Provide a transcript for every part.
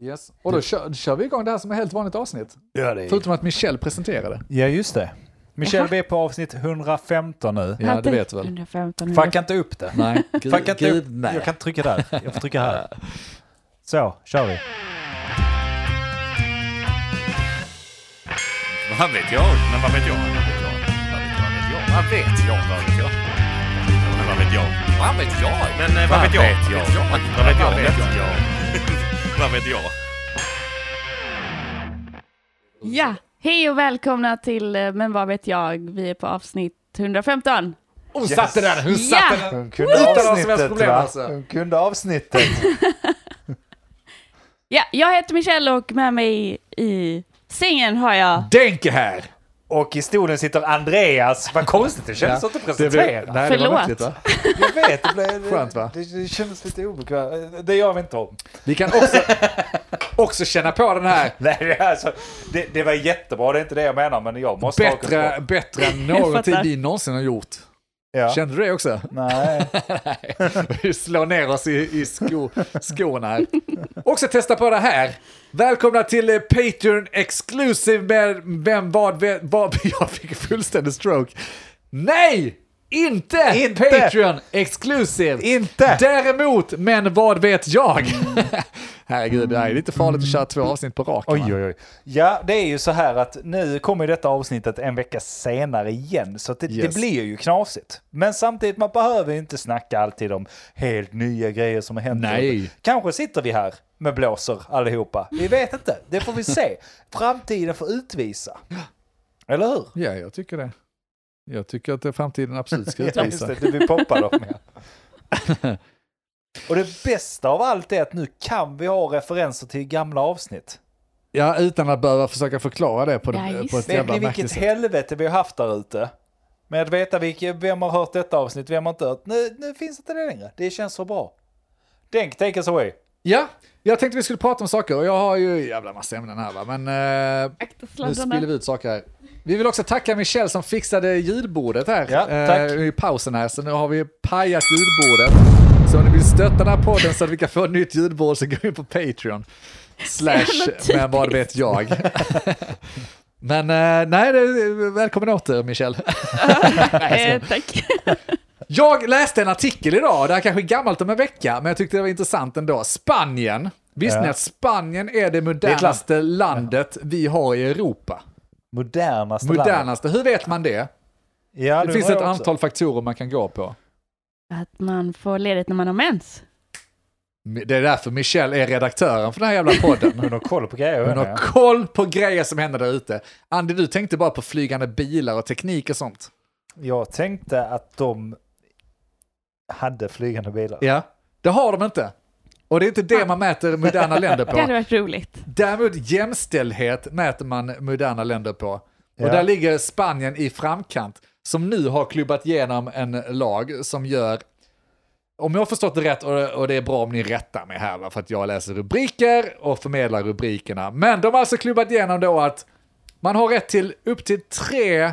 Yes. Och då kör, kör vi igång det här som är helt vanligt avsnitt. Gör det. Förutom att Michelle presenterade. Ja, just det. Michelle, vi är på avsnitt 115 nu. Ja, det vet du väl. 115 Fucka inte upp det. Nej. Fucka inte upp. gud, nej. Jag kan inte trycka där. Jag får trycka här. Så, kör vi. Vad vet jag? Men vad vet jag? Vad vet jag? Vad vet jag? Vad vet jag? Men vad vet jag? Vad vet jag? Men eh, vad vet jag? Vad vet jag? Vad vet jag? Vad vet jag? Ja, hej och välkomna till eh, Men vad vet jag? Vi är på avsnitt 115. Hon satte den! Hon satte Ja! den! kunde Utan några som helst problem, alltså. Hon kunde avsnittet. Ja, jag heter Michelle och med mig i sängen har jag... Denke här! Och i stolen sitter Andreas. Vad konstigt, det kändes inte presenterat. nej, det var Förlåt. märkligt, va? Jag vet, det, blev, Skönt, va? det, det kändes lite obekvämt. Det gör vi inte om. Vi kan också, också känna på den här Nej, det, är alltså, det, det var jättebra, det är inte det jag menar, men jag måste ha bättre, kontroll. bättre än Jag någon fattar. tid vi någonsin har gjort. Ja. Kände du det också? Nej. Vi slår ner oss i, i sko, skorna här. Också testa på det här. Välkomna till eh, Patreon Exclusive med Vem vad, ve- vad jag fick fullständig stroke. Nej! Inte, Inte. Patreon Exclusive! Inte. Däremot, men vad vet jag? Herregud, det här är lite farligt att köra två avsnitt på raken. va? Oj, oj, oj. Ja, det är ju så här att nu kommer ju detta avsnittet en vecka senare igen, så att det, Yes. det blir ju knasigt. Men samtidigt, man behöver ju inte snacka alltid om helt nya grejer som har hänt. Nej. Kanske sitter vi här med blåser allihopa. Vi vet inte, det får vi se. Framtiden får utvisa. Eller hur? Ja, jag tycker det. Jag tycker att eh, framtiden absolut ska Ja, just utvisa. det, det vi poppar dem med. Och det bästa av allt är att nu kan vi ha referenser till gamla avsnitt. Ja, utan att behöva försöka förklara det på, Ja, det, just på ett det. Vet jävla ni märkligt vilket sätt. helvete vi har haft där ute? Med att veta vilka, vem har hört detta avsnitt, vem har inte hört. Nu, nu finns inte det längre. Det känns så bra. Denk, take us away. Ja, jag tänkte vi skulle prata om saker och jag har ju jävla massa ämnen här va, men eh, Akta nu spiller vi sladdarna. ut saker här. Vi vill också tacka Michelle som fixade ljudbordet här Ja, tack. eh, i pausen här, så nu har vi pajat ljudbordet. Så om ni vill stötta den här podden så att vi kan få ett nytt ljudbord så gå in på Patreon. Slash, typiskt. men vad vet jag. men eh, nej, det, välkommen åter Michelle. Eh, tack. Jag läste en artikel idag, det här kanske är gammalt om en vecka, men jag tyckte det var intressant ändå. Spanien. Visste Ja. ni att Spanien är det är ett land. modernaste landet vi har i Europa? Modernaste landet. Modernaste, hur vet man det? Ja, Det nu finns har ett jag också. antal faktorer man kan gå på. Att man får ledigt när man har mens. Det är därför Michelle är redaktören för den här jävla podden. Hon har koll på grejer. Hon har ja. koll på grejer som händer där ute. Andy, du tänkte bara på flygande bilar och teknik och sånt. Jag tänkte att de hade flygande bilar. Ja. Det har de inte. Och det är inte det man mäter moderna länder på. Det hade varit roligt. Däremot jämställdhet mäter man moderna länder på. Och Ja. där ligger Spanien i framkant, som nu har klubbat igenom en lag som gör, om jag har förstått det rätt, och och det är bra om ni rättar mig här, va, för att jag läser rubriker och förmedlar rubrikerna. Men de har alltså klubbat igenom då att man har rätt till upp till tre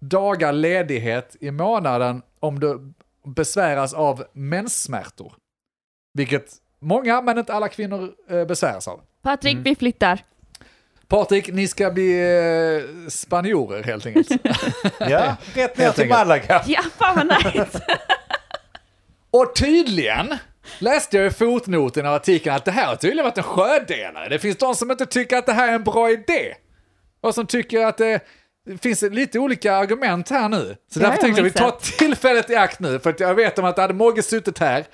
dagar ledighet i månaden om du besväras av menssmärtor. Vilket många, men inte alla kvinnor eh, besväras av. Patrik, vi flyttar. Patrik, ni ska bli eh, spanjorer helt enkelt. Ja, rätt ner Helt till enkelt. Malaga. Ja, fan vad nice. och tydligen läste jag i fotnoten av artikeln att det här har tydligen varit en sjödelare. Det finns de som inte tycker att det här är en bra idé. Och som tycker att det finns lite olika argument här nu. Så Det därför har jag tänkte jag vi tar missat. tillfället i akt nu, för att jag vet om att hade Mogge suttit här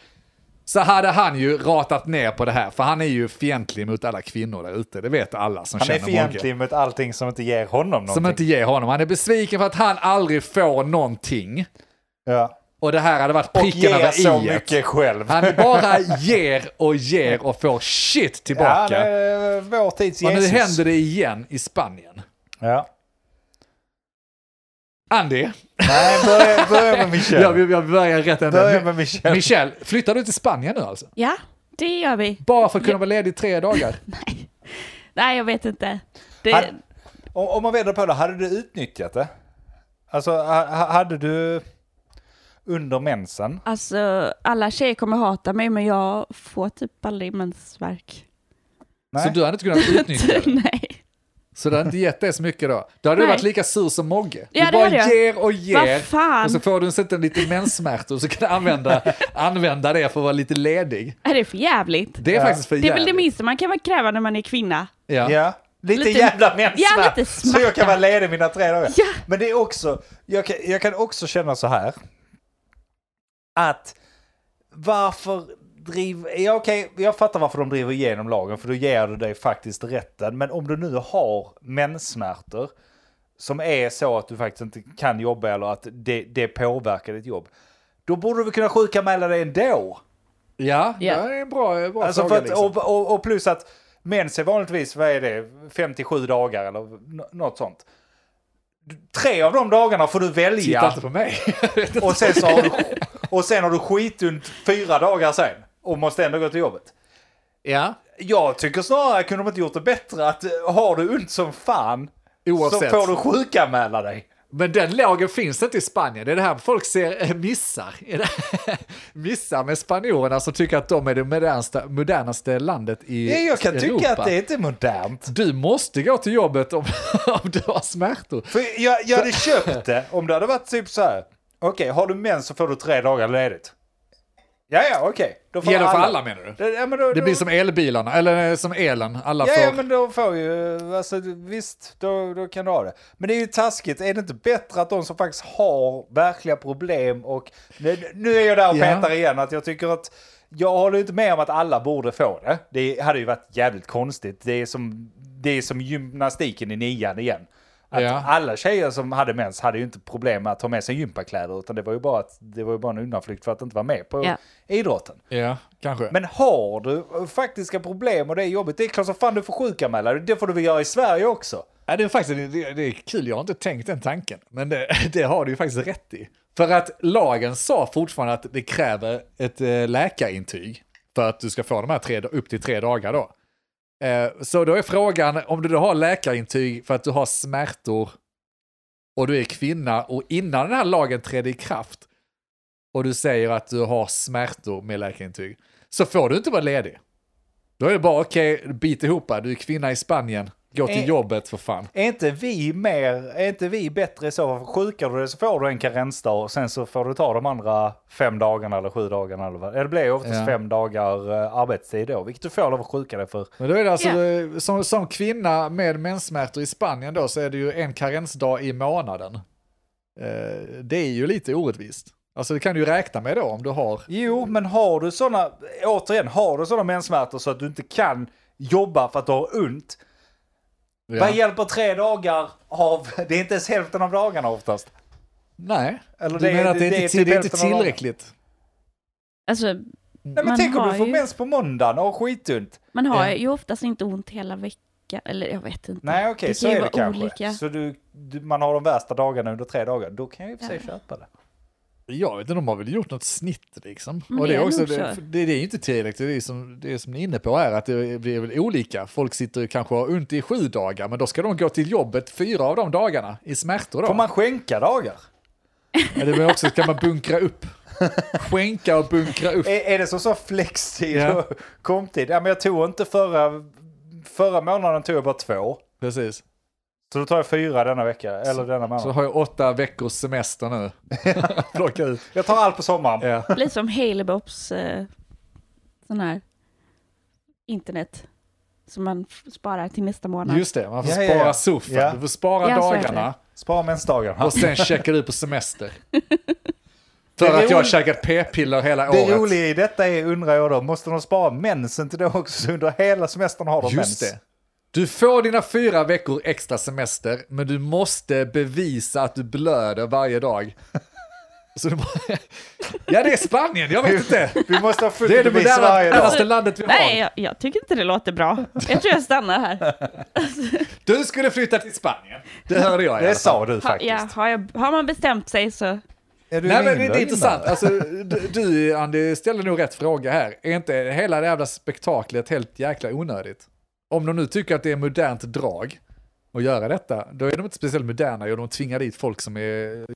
så hade han ju ratat ner på det här, för han är ju fientlig mot alla kvinnor där ute. Det vet alla som Han är känner Mogge. fientlig mot allting som inte ger honom någonting. Som inte ger honom. Han är besviken för att han aldrig får någonting. ja. Och det här hade varit Och pricken ger så över i. mycket själv. Han bara ger och ger och får shit Ja, tillbaka. det är vår tids och nu Jesus. händer det igen i Spanien. Ja. Andy, Nej, börja, börja med Michel. jag, vill- jag börjar rätt Börja ända. med Michel. Michel, flyttar du till Spanien nu alltså? Ja, det gör vi. Bara för att kunna vara ledig i tre dagar? Nej, Nej jag vet inte. Hade, Det, om, om man vänder på det, hade du utnyttjat det? Alltså, ha, ha- hade du under mensen? alltså, alla tjejer kommer hata mig, men jag får typ aldrig mensvärk. Så Nej. du hade inte kunnat utnyttja det. Nej. Så det hade inte gett dig så mycket då. Då hade du Nej. varit lika sur som Mogge. Du Ja, det bara hade jag. ger och Vad ger. fan? Och så får du inte en liten menssmärtor så kan du använda, använda det för att vara lite ledig. Är det för jävligt? Det är Ja. faktiskt för Det är väl det jävligt. minsta man kan kräva när man är kvinna? Ja. Ja. Lite, Lite- jävla mensvärk. Ja, lite så jag smärta. kan vara ledig mina tre dagar. Ja. Men det är också, jag kan, jag kan också känna så här. Att varför driv... Ja, okej, jag fattar varför de driver igenom lagen, för då ger du dig faktiskt rätten. Men om du nu har menssmärtor som är så att du faktiskt inte kan jobba eller att det, det påverkar ditt jobb. Då borde du väl kunna sjukanmäla dig ändå? Ja, Ja. det är en bra, bra Alltså för fråga. att, liksom. och, och, och plus att mens är vanligtvis, vad är det, 57 dagar eller nå- något sånt. Du- Tre av de dagarna får du Titta välja inte på mig. och sen, så har du, och sen har du skitunt fyra dagar sen och måste ändå gå till jobbet. ja, Jag tycker snarare, kunde de inte gjort det bättre, att eh, har du ont som fan oavsett. så får du sjukanmäla dig. Men den lagen finns inte i Spanien. Det är det här folk ser eh, missar. Är det- missar med spanjorerna som tycker att de är det modernaste, modernaste landet i Ja, jag kan Europa. tycka att det är inte modernt. Du måste gå till jobbet om, om du har smärtor. För jag, jag hade köpt det om det hade varit typ så här. Okej, har du mens så får du tre dagar ledigt. Ja, ja, okej. Då får Gäller för alla menar du? Det, ja, men då, Det blir då, som elbilarna, eller eh, som elen. Alla Ja, får... ja, men då får ju... Alltså, visst, då, då kan du ha det. Men det är ju taskigt. Är det inte bättre att de som faktiskt har verkliga problem och... Nu, nu är jag där och Ja. petar igen att jag tycker att... Jag håller inte med om att alla borde få det. Det hade ju varit jävligt konstigt. Det är som, det är som gymnastiken i nian igen. Att Ja. alla tjejer som hade mens hade ju inte problem med att ha med sig gympakläder utan det var ju bara, att, det var ju bara en undanflykt för att inte vara med på Ja. idrotten. Ja, kanske. Men har du eh, faktiska problem och det är jobbigt, det är klart som fan du får sjukanmäla dig. Det får du väl göra i Sverige också. Ja, det, är faktiskt, det, det är kul, jag har inte tänkt den tanken. Men det, det har du ju faktiskt rätt i. För att lagen sa fortfarande att det kräver ett eh, läkarintyg för att du ska få de här tre, upp till tre dagar då. Eh, Så då är frågan, om du då har läkarintyg för att du har smärtor och du är kvinna och innan den här lagen trädde i kraft och du säger att du har smärtor med läkarintyg så får du inte vara ledig. Då är det bara okej, bit ihop, du är kvinna i Spanien, gå till Eh. jobbet för fan. Är inte vi mer, är inte vi bättre i så fall? Sjukar du dig så får du en karensdag och sen så får du ta de andra fem dagarna eller sju dagarna eller vad. Det blir ju oftast Ja. fem dagar eh, arbetstid då, vilket du får lov att sjuka dig för. Men då är det alltså, Ja. eh, som, som kvinna med menssmärtor i Spanien då så är det ju en karensdag i månaden. Eh, det är ju lite orättvist. Alltså det kan du ju räkna med då om du har. Jo, men har du sådana, återigen, har du sådana menssmärtor så att du inte kan jobba för att du har ont, vad hjälper tre dagar av, det är inte ens hälften av dagarna oftast. Nej, Eller du menar att det, är inte- typ det är inte hälften av dagarna. tillräckligt? Alltså, Nej, men Man tänk om har du får ju- mens på måndagen och har skitont. man har Ja. ju oftast inte ont hela veckan. Eller jag vet inte. Typ. Nej okej, Det så kan ju är det vara kanske. olika. Så du, du, man har de värsta dagarna under tre dagar. Då kan jag i och för sig Ja. köpa det. Jag vet inte, de har väl gjort något snitt liksom. Men Och det, Mm, det är är också, nog det, så. det, det är ju inte tillräckligt, det är som, det är som ni är inne på här, att det blir väl olika. Folk sitter ju kanske och har ont i sju dagar, men då ska de gå till jobbet fyra av de dagarna i smärtor då. Får man skänka dagar? Ja, det är väl också, kan man bunkra upp. Skänka och bunkra upp. Är, är det som så flextid Ja. och komtid? Ja men jag tog inte förra, förra månaden tog jag bara två. Precis. Så då tar jag fyra denna vecka, eller denna Så månad. har jag åtta veckors semester nu. Plocka ut. Jag tar allt på sommaren. Ja. Lite som Halebops eh, sån här internet som man f- sparar till nästa månad. Just det, man får Ja, ja, spara ja. soffen, Ja. du får spara Ja, så är det. dagarna Spara mensdagarna. och sen checkar du på semester. Det För är att jag har roligt- käkat p-piller hela Det året. roliga i detta är, undrar jag då, måste de spara mensen till då också? Så under hela semestern har de mens. Just det. Du får dina fyra veckor extra semester, men du måste bevisa att du blöder varje dag. Så du må... Ja, det är Spanien, jag vet inte. Vi måste ha fullt Det är det bevis varje dag. modernaste landet vi har. Nej, jag, jag tycker inte det låter bra. Jag tror jag stannar här. Du skulle flytta till Spanien. Det hörde jag i alla Det fall. sa du Ha, faktiskt. ja, har, jag, har man bestämt sig så... Är du Nej men det, det inlagd? är intressant. Alltså, du- du Andy ställer nog rätt fråga här. Är inte hela det jävla spektaklet helt jäkla onödigt? Om de nu tycker att det är modernt drag att göra detta, då är de inte speciellt moderna och de tvingar dit folk som är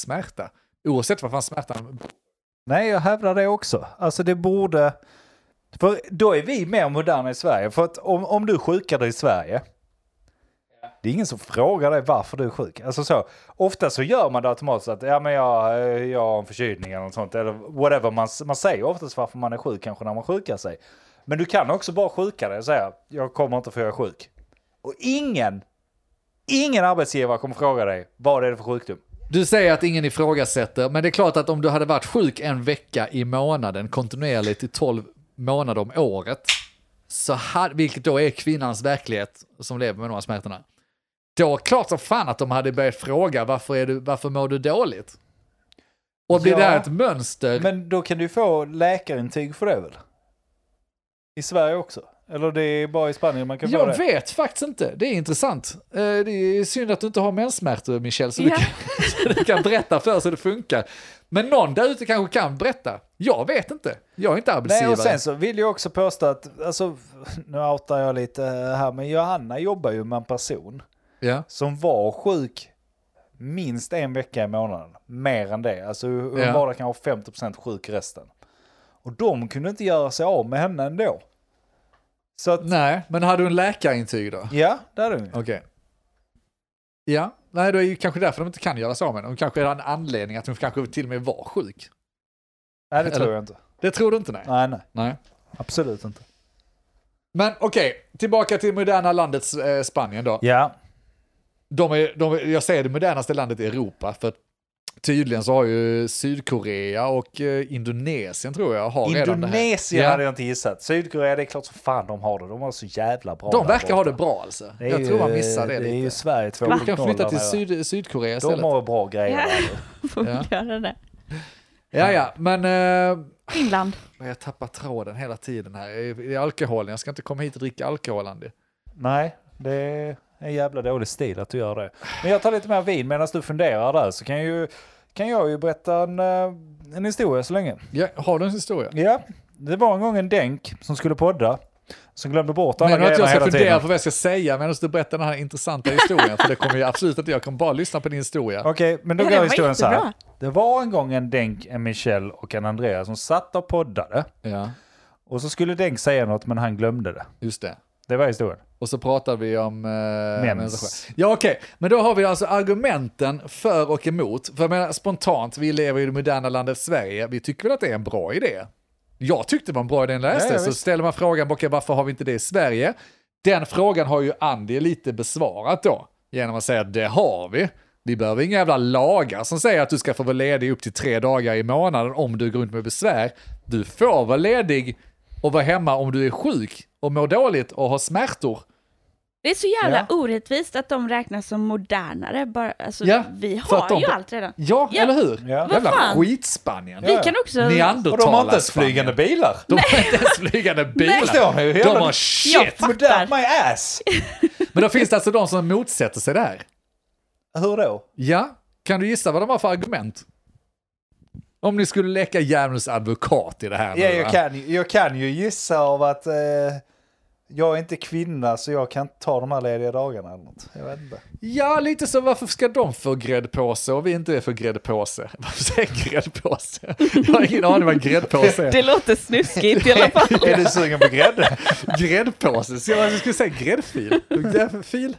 smärta. Oavsett vad fan smärtan... Nej, jag hävdar det också. Alltså det borde... För då är vi mer moderna i Sverige. För att om, om du sjukar dig i Sverige, det är ingen som frågar dig varför du är sjuk. Alltså så, ofta så gör man det automatiskt att ja, men jag, eh, jag har en förkylning eller något sånt. Eller whatever. Man, man säger oftast varför man är sjuk kanske när man sjukar sig. Men du kan också bara sjuka dig och säga jag kommer inte för jag är sjuk. Och ingen, ingen arbetsgivare kommer fråga dig vad är det för sjukdom. Du säger att ingen ifrågasätter, men det är klart att om du hade varit sjuk en vecka i månaden kontinuerligt i 12 månader om året, så hade, vilket då är kvinnans verklighet som lever med de här smärtorna, då är det klart som fan att de hade börjat fråga varför, är du, varför mår du dåligt? Och blir Ja. det här ett mönster? Men då kan du få läkarintyg för det väl? I Sverige också? Eller det är bara i Spanien man kan få jag det? vet faktiskt inte, det är intressant. Eh, Det är synd att du inte har menssmärtor Michel, så Ja. du, kan, så du kan berätta för oss hur det funkar. Men någon där ute kanske kan berätta. Jag vet inte, jag är inte arbetsgivare. Nej, och sen så vill jag också påstå att, alltså, nu outar jag lite här, men Johanna jobbar ju med en person ja. som var sjuk minst en vecka i månaden. Mer än det. Alltså hon Ja. var där kanske 50% sjuk resten. Och de kunde inte göra sig av med henne ändå. Så att, Nej, men hade du en läkarintyg då? ja, där är hon ju. Okej. Ja, nej då är ju kanske därför de inte kan göra sig av med De kanske har en anledning att de kanske till och med var sjuk. Nej, det tror Eller- jag inte. Det tror du inte? Nej. Nej, nej. nej. Absolut inte. Men okej, tillbaka till moderna landet eh, Spanien då. Ja, De är, de är, jag säger det modernaste landet i Europa för att tydligen så har ju Sydkorea och eh, Indonesien tror jag har redan det här. Indonesien Ja. hade jag inte gissat. Sydkorea, det är klart som fan de har det. De har så jävla bra De där verkar borta. ha det bra alltså. Det är jag ju- tror man missar det, Det är ju lite. Sverige 2.0. Du kan flytta till där. Syd, Sydkorea istället. De har bra grejer. Ja. alltså. Får vi Ja. göra det? Ja, ja, men... Eh, Finland. Men jag tappar tråden hela tiden här. Det är alkoholen, jag ska inte komma hit och dricka alkohol, Andy. Nej, det är en jävla dålig stil att du gör det. Men jag tar lite mer vin medan du funderar där så kan, ju, kan jag ju berätta en, eh, en historia så länge. Ja, har du en historia? Ja, det var en gång en denk som skulle podda. Som glömde bort alla Menar du att grejerna jag ska hela fundera tiden. på vad jag ska säga medan du berättar den här intressanta historien? för det kommer ju absolut inte, jag kommer bara lyssna på din historia. Okej, men då Ja, går den var historien så här. jättebra. Det var en gång en Denk, en Michel och en Andreas som satt och poddade. Ja, Och så skulle Denk säga något men han glömde det. just det. Det var historien. Och så pratar vi om... Eh, Mens. Ja, okej. Men då har vi alltså argumenten för och emot. För jag menar, spontant, vi lever i det moderna landet Sverige. Vi tycker väl att det är en bra idé? Jag tyckte det var en bra idé när jag läste. Ja, ja, så visst. ställer man frågan, "Okej, varför har vi inte det i Sverige? Den frågan har ju Andy lite besvarat då. Genom att säga, att det har vi. Vi behöver inga jävla lagar som säger att du ska få vara ledig upp till tre dagar i månaden om du går runt med besvär. Du får vara ledig och vara hemma om du är sjuk och mår dåligt och har smärtor. Det är så jävla Ja. orättvist att de räknas som modernare. Bara, alltså, Ja, vi för att har de- ju allt redan. Ja, Ja. eller hur? Ja. Jävla Vad fan? skitspanien. Vi kan också... Och de har inte Neandertalare ens flygande bilar. De har inte ens flygande bilar. Förstår ni hur De jävla- har Jag shit. Damn fattar. my ass! Men då finns det alltså de som motsätter sig det här. Hur då? Ja, kan du gissa vad de har för argument? Om ni skulle leka djävulens advokat i det här Ja, nu, jag, va? kan, ju- jag kan ju gissa av att eh, jag är inte kvinna så jag kan inte ta de här lediga dagarna eller något. Jag vet inte. Ja, lite så varför ska de få gräddpåse och vi inte är för gräddpåse? Varför säger jag gräddpåse? Jag har ingen aning vad gräddpåse är. Det låter snuskigt i alla fall. Är du sugen på grädde? Gräddpåse? Så Jag skulle säga gräddfil. Fil?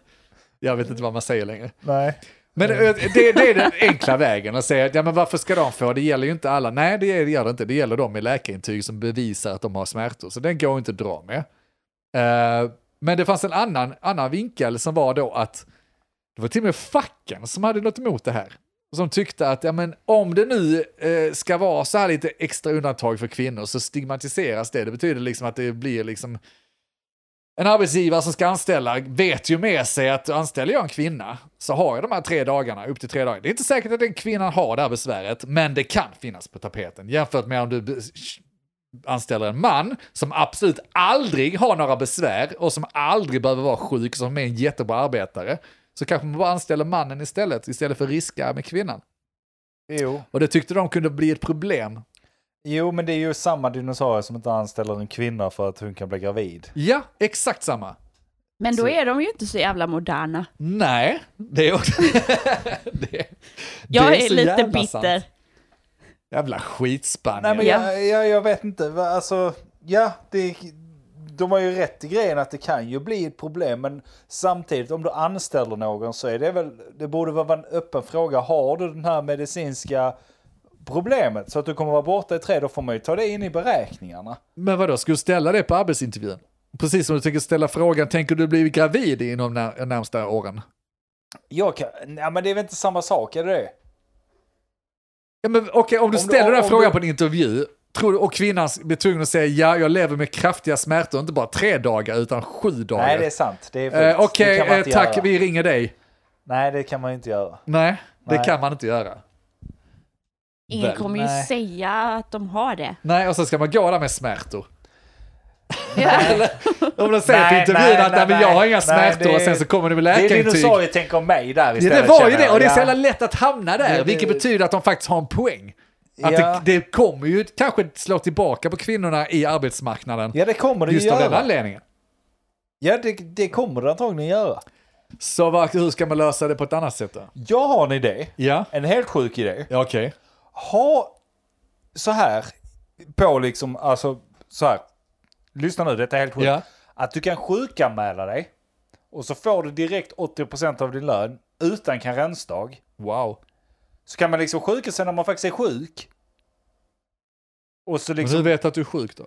Jag vet inte vad man säger längre. Nej. Men eh, det, det är den enkla vägen att säga att ja, men varför ska de få, det gäller ju inte alla. Nej, det gör det inte. Det gäller de med läkarintyg som bevisar att de har smärtor, så den går inte att dra med. Eh, men det fanns en annan, annan vinkel som var då att det var till och med facken som hade något emot det här. Som tyckte att ja, men om det nu eh, ska vara så här lite extra undantag för kvinnor så stigmatiseras det. Det betyder liksom att det blir liksom en arbetsgivare som ska anställa vet ju med sig att anställer jag en kvinna så har jag de här tre dagarna, upp till tre dagar. Det är inte säkert att den kvinnan har det här besväret, men det kan finnas på tapeten jämfört med om du be- anställer en man som absolut aldrig har några besvär och som aldrig behöver vara sjuk, som är en jättebra arbetare. Så kanske man bara anställer mannen istället, istället för riska med kvinnan. Jo. Och det tyckte de kunde bli ett problem. jo, men det är ju samma dinosaurie som inte anställer en kvinna för att hon kan bli gravid. Ja, exakt samma. Men då är de ju inte så jävla moderna. Nej, det är också... det, Jag det är, så lite jävla bitter. sant. Jävla skitspann. Nej, men Ja. jag, jag, jag vet inte. Va, Alltså, ja, det, de har ju rätt i grejen att det kan ju bli ett problem, men samtidigt om du anställer någon så är det väl, det borde vara en öppen fråga, har du den här medicinska problemet så att du kommer vara borta i tre, då får man ju ta det in i beräkningarna. Men vadå, ska du ställa det på arbetsintervjun? Precis som du tänker ställa frågan, tänker du bli gravid inom de närmsta åren? Jag kan, nej men det är väl inte samma sak, är det det? Ja, men okej, om du Om du- ställer den om här frågan du- på en intervju, tror du, och kvinnan blir tvungen att säga ja, jag lever med kraftiga smärtor, inte bara tre dagar utan sju dagar. Nej, det är sant. Det är sjukt. Eh, Det Okej, kan man eh, inte tack, göra. vi ringer dig. Nej, det kan man ju inte göra. Nej, det Nej. kan man inte göra. Ingen Väl, kommer ju nej. säga att de har det. Nej, och så ska man gå där med smärtor. Ja. Om de säger på Nej, intervjun nej, att nej, men nej, jag har inga nej, smärtor det- och sen så kommer det med Det är det läkarintyg. du sa ju tänker om mig där Ja, istället. det var ju känner det, jag. och det är så Ja. jävla lätt att hamna där, Ja, det- vilket betyder att de faktiskt har en poäng. Att Ja. det, det kommer ju kanske slå tillbaka på kvinnorna i arbetsmarknaden, Ja, det kommer det ju just av den göra. anledningen. Ja, det, det kommer det antagligen göra. Så vad- hur ska man lösa det på ett annat sätt då? Jag har en idé. Ja, En helt sjuk idé. ja okej. Ha så här på liksom, alltså så här. Lyssna nu, detta är helt sjukt. Ja. Att du kan sjukanmäla dig och så får du direkt 80% av din lön utan karensdag. Wow. Så kan man liksom sjuka sig när man faktiskt är sjuk. Och så Men liksom... hur vet du att du är sjuk då?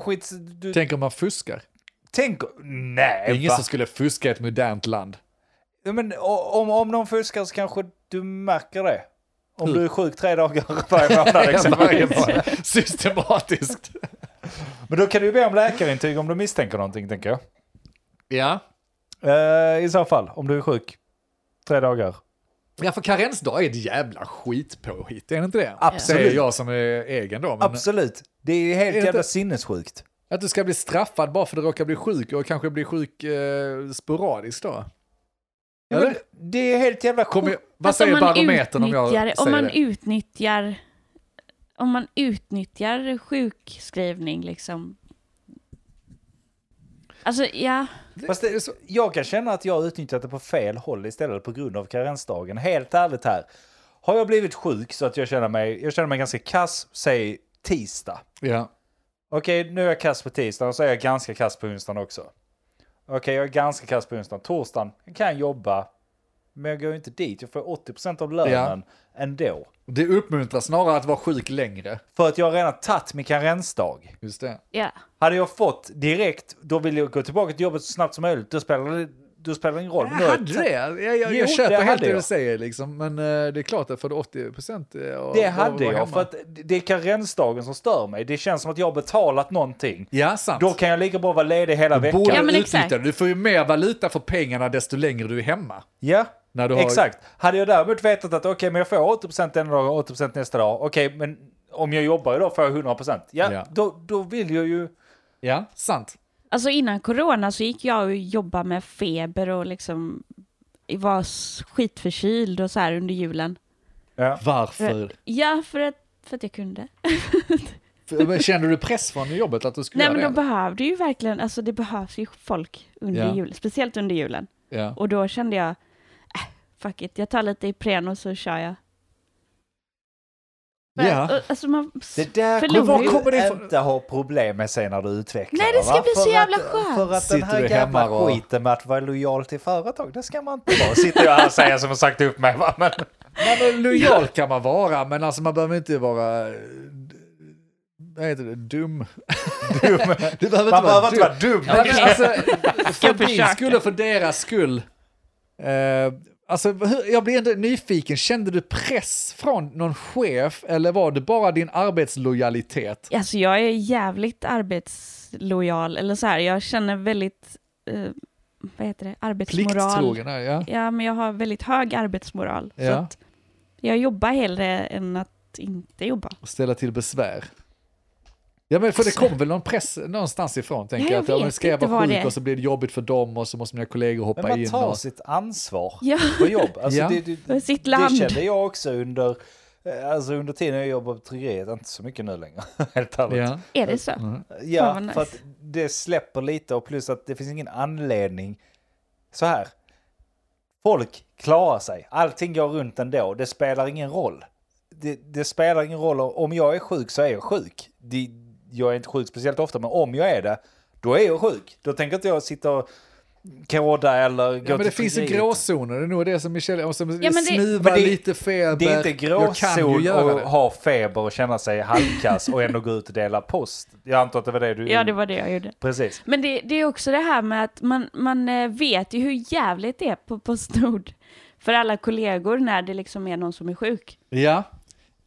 Skit, du, Tänk om man fuskar? tänk... Det är Nej, ingen va? som skulle fuska i ett modernt land. Ja, Men, o- om, om någon fuskar så kanske du märker det. Om Hur? du är sjuk tre dagar varje månad. liksom. Varje exempelvis. dag. Systematiskt. Men då kan du ju be om läkarintyg om du misstänker någonting, tänker jag. Ja. Eh, I så fall, om du är sjuk tre dagar. Ja, för karensdag är ett jävla skitpåhitt, är det inte det? Absolut. Säger jag som är egen då. Men Absolut. Det är ju helt det jävla inte- sinnessjukt. Att du ska bli straffad bara för att du råkar bli sjuk och kanske bli sjuk eh, sporadiskt då. Ja, Eller? men det är helt jävla Kommer, sjukt. jag- vad Fast Alltså, om säger man barometern om jag utnyttjar- säger om man det? utnyttjar Om man utnyttjar sjukskrivning liksom. Alltså ja, Fast det, jag kan känna att jag har utnyttjat det på fel håll istället på grund av karensdagen. Helt ärligt här. Har jag blivit sjuk så att jag känner mig, jag känner mig ganska kass, säg tisdag. Ja. Okej, nu är jag kass på tisdagen och så är jag ganska kass på onsdagen också. Okej, jag är ganska kass på onsdagen. Torsdagen, jag kan jobba, men jag går ju inte dit. Jag får 80% av lönen ändå. Det uppmuntrar snarare att vara sjuk längre. För att jag har redan tagit min karensdag. Just det. ja. Hade jag fått direkt, då vill jag gå tillbaka till jobbet så snabbt som möjligt. Då spelar det, då spelar det ingen roll. Jag Nu har jag hade det. Jag, jag, Jo, jag köper det helt hade det du jag. säger, liksom. men eh, det är klart att för 80 procent... eh, Det hade jag, för att det är karensdagen som stör mig. Det känns som att jag har betalat någonting. Ja, sant. Då kan jag lika bra vara ledig hela veckan. Borde Ja, men utnyttja exakt. det. Du får ju mer valuta för pengarna desto längre du är hemma. Ja, När du har- exakt. Hade jag däremot vetat att okej, men jag får 80% ena dagen och 80% nästa dag. Okej, men om jag jobbar idag får jag 100%. Ja, Ja. Då, då vill jag ju... Ja, sant. Alltså innan corona så gick jag och jobbade med feber och liksom var s- skitförkyld och så här under julen. Ja. Varför? Ja, för att, för att jag kunde. För- men Kände du press från jobbet att du skulle Nej men göra de det? behövde ju verkligen, alltså det behövs ju folk under Ja. julen, speciellt under julen. Ja. Och då kände jag, äh, fuck it, jag tar lite Ipren och så kör jag. För- Ja. och- Alltså man, Det där Förlorar kommer ju. du Var kommer det ifrån? inte ha problem med sen när du utvecklar Nej, det ska va? bli så För jävla att, skönt. För att den Sitter här du jävla hemma och- skiten med att vara lojal till företag, det ska man inte vara. Sitter jag här och säger som har sagt upp mig. Va? Men... Nej, men eh, lojal kan man vara, men alltså man behöver inte vara... eh, Vad heter det? Dum. Du behöver Man behöver inte dum. vara dum. Nej, men alltså, för din försöka. skull och för deras skull. Eh, alltså, hur, jag blir ändå nyfiken, kände du press från någon chef eller var det bara din arbetslojalitet? Alltså jag är jävligt arbetslojal, eller så här, jag känner väldigt, eh, vad heter det, arbetsmoral. Plikttrogen? är det, Ja. Ja, men jag har väldigt hög arbetsmoral. Så Ja. att jag jobbar hellre än att inte jobba. Ställa till besvär. Ja, men för det kom väl någon press någonstans ifrån, tänker Ja, jag. jag Att ja, men vet ska jag inte vara vad det sjuk är. och så blir det jobbigt för dem och så måste mina kollegor hoppa Men man in. tar och... sitt ansvar Ja. på jobb. Alltså, Ja. det, det, För sitt Det land. kände jag också under, eh, alltså under tiden jag jobbade på bryggeriet, inte så mycket nu längre. Helt ärligt. Ja. Är det så? Mm. Ja, Fan, vad nice. för att det släpper lite och plus att det finns ingen anledning. Så här, folk klarar sig. Allting går runt ändå. Det spelar ingen roll. Det, det spelar ingen roll om jag är sjuk så är jag sjuk. Det, jag är inte sjuk speciellt ofta, men om jag är det, då är jag sjuk. Då tänker inte jag sitta och kråda eller gå Ja, men det till finns ju frieriet. gråzoner, det är nog det som Michelle, och som Ja, men det- snuva Men det- lite feber. Det är inte Jag kan ju gråzon göra att det. ha feber och känna sig halvkass och ändå gå ut och dela post. Jag antar att det var det du... Ja, det var det jag gjorde. Precis. Men det, det är också det här med att man, man eh, vet ju hur jävligt det är på Postnord för alla kollegor när det liksom är någon som är sjuk. Ja,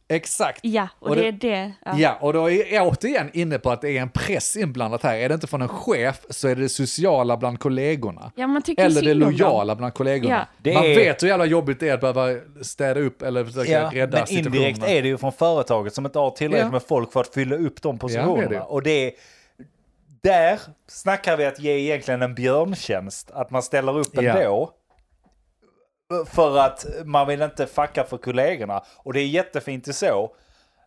exakt. Ja, och, Och det, det- är det. Ja. Ja, och då är jag återigen inne på att det är en press inblandat här. Är det inte från en chef så är det det sociala bland kollegorna. ja, man tycker Eller det synd om dem. lojala bland kollegorna. Ja. Det Man är- vet hur jävla jobbigt det är att behöva städa upp eller försöka Ja, rädda men situationen. indirekt är det ju från företaget som inte har tillräckligt Ja. med folk för att fylla upp de positionerna. det är det. och det är, där snackar vi att ge egentligen en björntjänst, att man ställer upp Ja. ändå. För att man vill inte fucka för kollegorna. Och det är jättefint i så.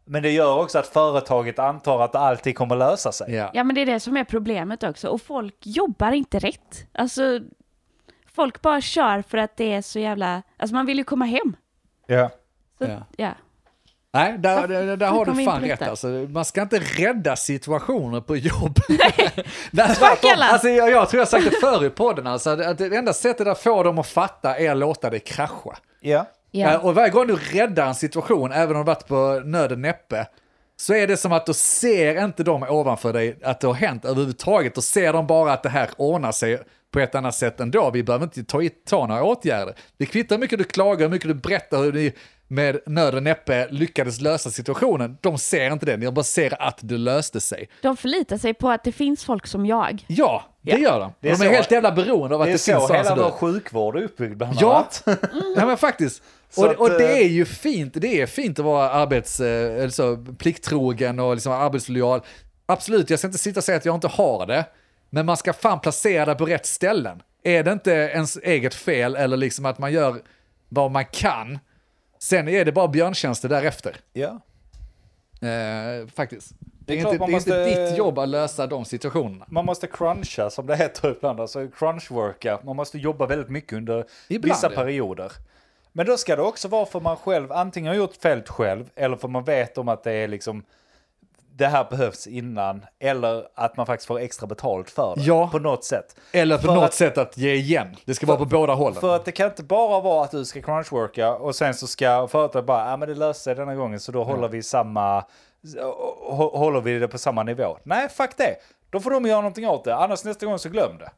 Men det gör också att företaget antar att allting kommer lösa sig. Ja. Ja, men det är det som är problemet också. Och folk jobbar inte rätt. Alltså, folk bara kör för att det är så jävla... Alltså man vill ju komma hem. Ja. Så, Ja. ja. Nej, där, där, där har Kom du in fan på rätt detta. alltså. Man ska inte rädda situationer på jobb. Nej, Fuck alla. alltså, jag, jag tror jag sagt det förr i podden, alltså, att att det enda sättet att få dem att fatta är att låta det krascha. ja. Eh, Och varje gång du räddar en situation, även om du varit på nöden näppe, så är det som att du ser inte de ovanför dig att det har hänt överhuvudtaget. Då ser de bara att det här ordnar sig på ett annat sätt ändå. Vi behöver inte ta, i- ta några åtgärder. Det kvittar hur mycket du klagar, hur mycket du berättar hur ni med nöd och näppe lyckades lösa situationen. De ser inte det, de bara ser att det löste sig. De förlitar sig på att det finns folk som jag. Ja, det Ja. gör de. Det är de är så- helt jävla beroende av att Det det, är finns så sådana hela som du. vår sjukvård är uppbyggd bland Ja, annat. ja men faktiskt. Så Och, att, och eh, det är ju fint, det är fint att vara arbets, eh, eller så, plikttrogen och liksom arbetslojal. Absolut, jag ska inte sitta och säga att jag inte har det, men man ska fan placera det på rätt ställen. Är det inte ens eget fel eller liksom att man gör vad man kan, sen är det bara björntjänster därefter. Ja. Eh, faktiskt. Det är, klart inte, man det är inte måste- ditt jobb att lösa de situationerna. Man måste cruncha som det heter ibland, alltså crunchworka. Man måste jobba väldigt mycket under Ibland, vissa ja. perioder. Men då ska det också vara för man själv antingen har gjort fält själv eller för man vet om att det är liksom det här behövs innan eller att man faktiskt får extra betalt för det Ja. på något sätt. Eller på För något att- sätt att ge igen. Det ska vara på båda hållen. För att det kan inte bara vara att du ska crunchworka och sen så ska företaget bara, ja ah, men det löser sig denna gången så då håller vi samma, hå- håller vi det på samma nivå. Nej, fuck det. Då får de göra någonting åt det, annars nästa gång så glöm det.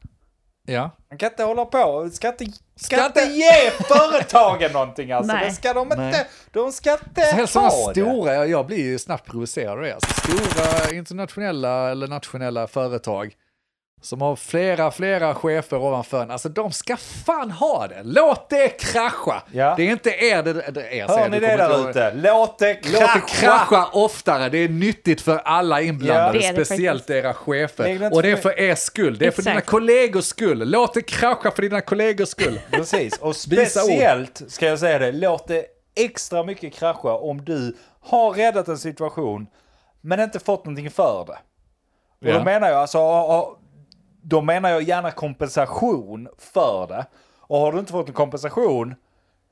Ja. Man kan inte hålla på, ska inte, ska Ska inte inte- ge företagen någonting alltså. Nej. Det ska de inte, Nej. de ska inte Helst sådana ha det. stora, jag- jag blir ju snabbt provocerad av det. Alltså, stora internationella eller nationella företag som har flera, flera chefer ovanför en. Alltså de ska fan ha det. Låt det krascha. Ja. Det är inte er, det, det är er, säger Hör jag. ni Du det kommer inte ihåg där ute? Låt det Låt krascha! det krascha oftare, det är nyttigt för alla Ja. inblandade, Det är det speciellt faktiskt. era Lägg det chefer. inte Och det är för- för er skull, det är för Exakt. dina kollegors skull. Låt det krascha för dina kollegors skull. Precis, och Visa ord. speciellt ska jag säga det, låt det extra mycket krascha om du har räddat en situation men inte fått någonting för det. Och Ja. då menar jag alltså, ja, ja, då menar jag gärna kompensation för det. Och har du inte fått en kompensation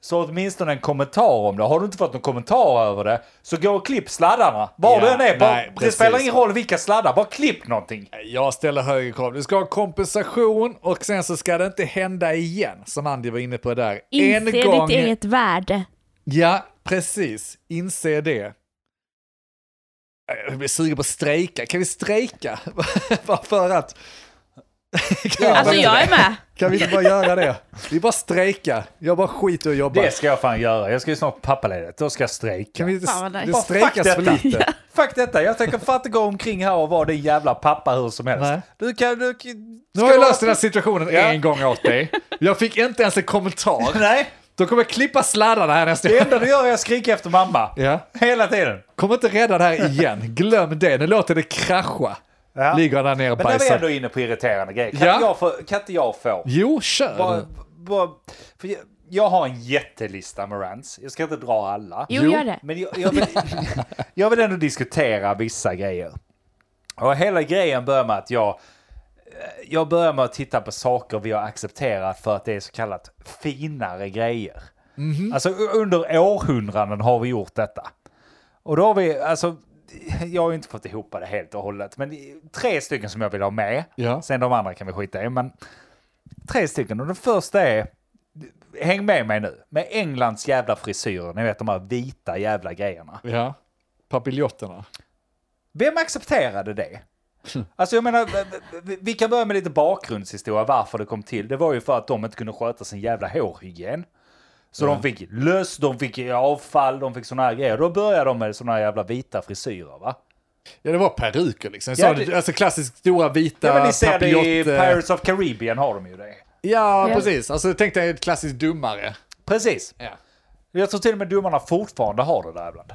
så åtminstone en kommentar om det. Har du inte fått någon kommentar över det så gå och klipp sladdarna. Var Ja, du än är, bara, nej, det precis. spelar ingen roll vilka sladdar, bara klipp någonting. Jag ställer högre krav. Du ska ha kompensation och sen så ska det inte hända igen, som Andy var inne på där. Inse ditt eget värde. Ja, precis. Inse det. Jag blir sugen på att strejka. Kan vi strejka? bara för att... kan, Ja, vi Alltså bara- men- jag är med. kan vi inte bara göra det? Vi bara strejka. Jag bara skiter och jobbar. Det ska jag fan göra. Jag ska ju snart pappaledigt, då ska jag strejka. Kan vi inte... Fan, vad nice. Det Bara, fuck strejkas för detta. lite. Fuck detta, jag tänker fan inte gå omkring här och vara din jävla pappa hur som helst. Nej. Du kan... Du, Nu har jag löst den här situationen Ja. en gång åt dig. Jag fick inte ens en kommentar. Nej, Då kommer jag klippa sladdarna här nästa det enda du gör är att skrika efter mamma. Ja. Hela tiden. Kom inte rädda det här igen. Glöm det. Nu låter det krascha. Ja. Ligger han där nere och Men när vi är bajsar. ändå inne på irriterande grejer, kan, Ja. inte jag få, kan inte jag få? Jo, kör. Bara, bara, för jag, jag har en jättelista med rants. Jag ska inte dra alla. Jo, Jo, gör det. Men jag, jag, vill, jag vill ändå diskutera vissa grejer. Och hela grejen börjar med att jag, jag börjar med att titta på saker vi har accepterat för att det är så kallat finare grejer. Alltså u- under århundraden har vi gjort detta. Och då har vi, alltså jag har ju inte fått ihop det helt och hållet, men det är tre stycken som jag vill ha med. Ja. Sen de andra kan vi skita i, men tre stycken. Och den första är, häng med mig nu, med Englands jävla frisyrer, ni vet de här vita jävla grejerna. Ja. Papiljoterna. Vem accepterade det? Alltså jag menar, vi- vi kan börja med lite bakgrundshistoria varför det kom till. Det var ju för att de inte kunde sköta sin jävla hårhygien. Så de fick löss, de fick avfall, de fick såna här grejer. Då började de med såna här jävla vita frisyrer va? Ja, det var peruker liksom. Ja, Ja, det- Alltså klassiskt stora vita Ja men ni ser det i papiljott, eh, Pirates of Caribbean har de ju det. Ja, Ja. precis. Alltså tänk dig ett klassiskt dummare. Precis. Ja. Jag tror till och med domarna fortfarande har det där ibland.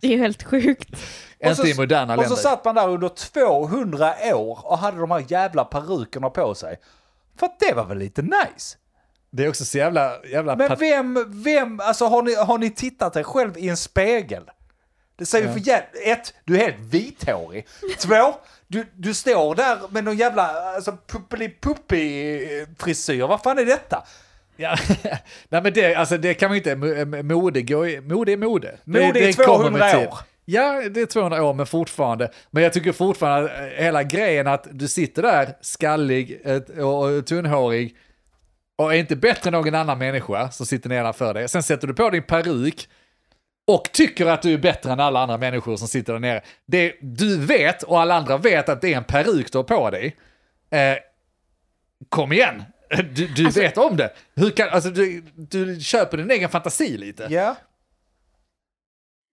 Det är ju helt sjukt. Och så- Inte i moderna Och länder. så satt man där under 200 år och hade de här jävla perukerna på sig. För att det var väl lite nice? Det är också så jävla, jävla Men pat- vem, vem, alltså har ni, har ni tittat er själv i en spegel? Det säger ju för jävligt, ett, du är helt vithårig. Två, du, du står där med någon jävla alltså, puppeli-puppi-frisyr. Vad fan är detta? Ja. Nej men det, alltså, det kan man ju inte, M- mode, går i- mode är mode. Mode är det, det kommer 200 med tid. år. Ja, det är 200 år, men fortfarande. Men jag tycker fortfarande att eh, hela grejen att du sitter där skallig eh, och och tunnhårig och är inte bättre än någon annan människa som sitter nedanför dig. Sen sätter du på din peruk och tycker att du är bättre än alla andra människor som sitter där nere. Det, du vet, och alla andra vet, att det är en peruk du har på dig. Eh, kom igen! Du, du Alltså- vet om det. Hur kan, alltså, du, du köper din egen fantasi lite. Ja.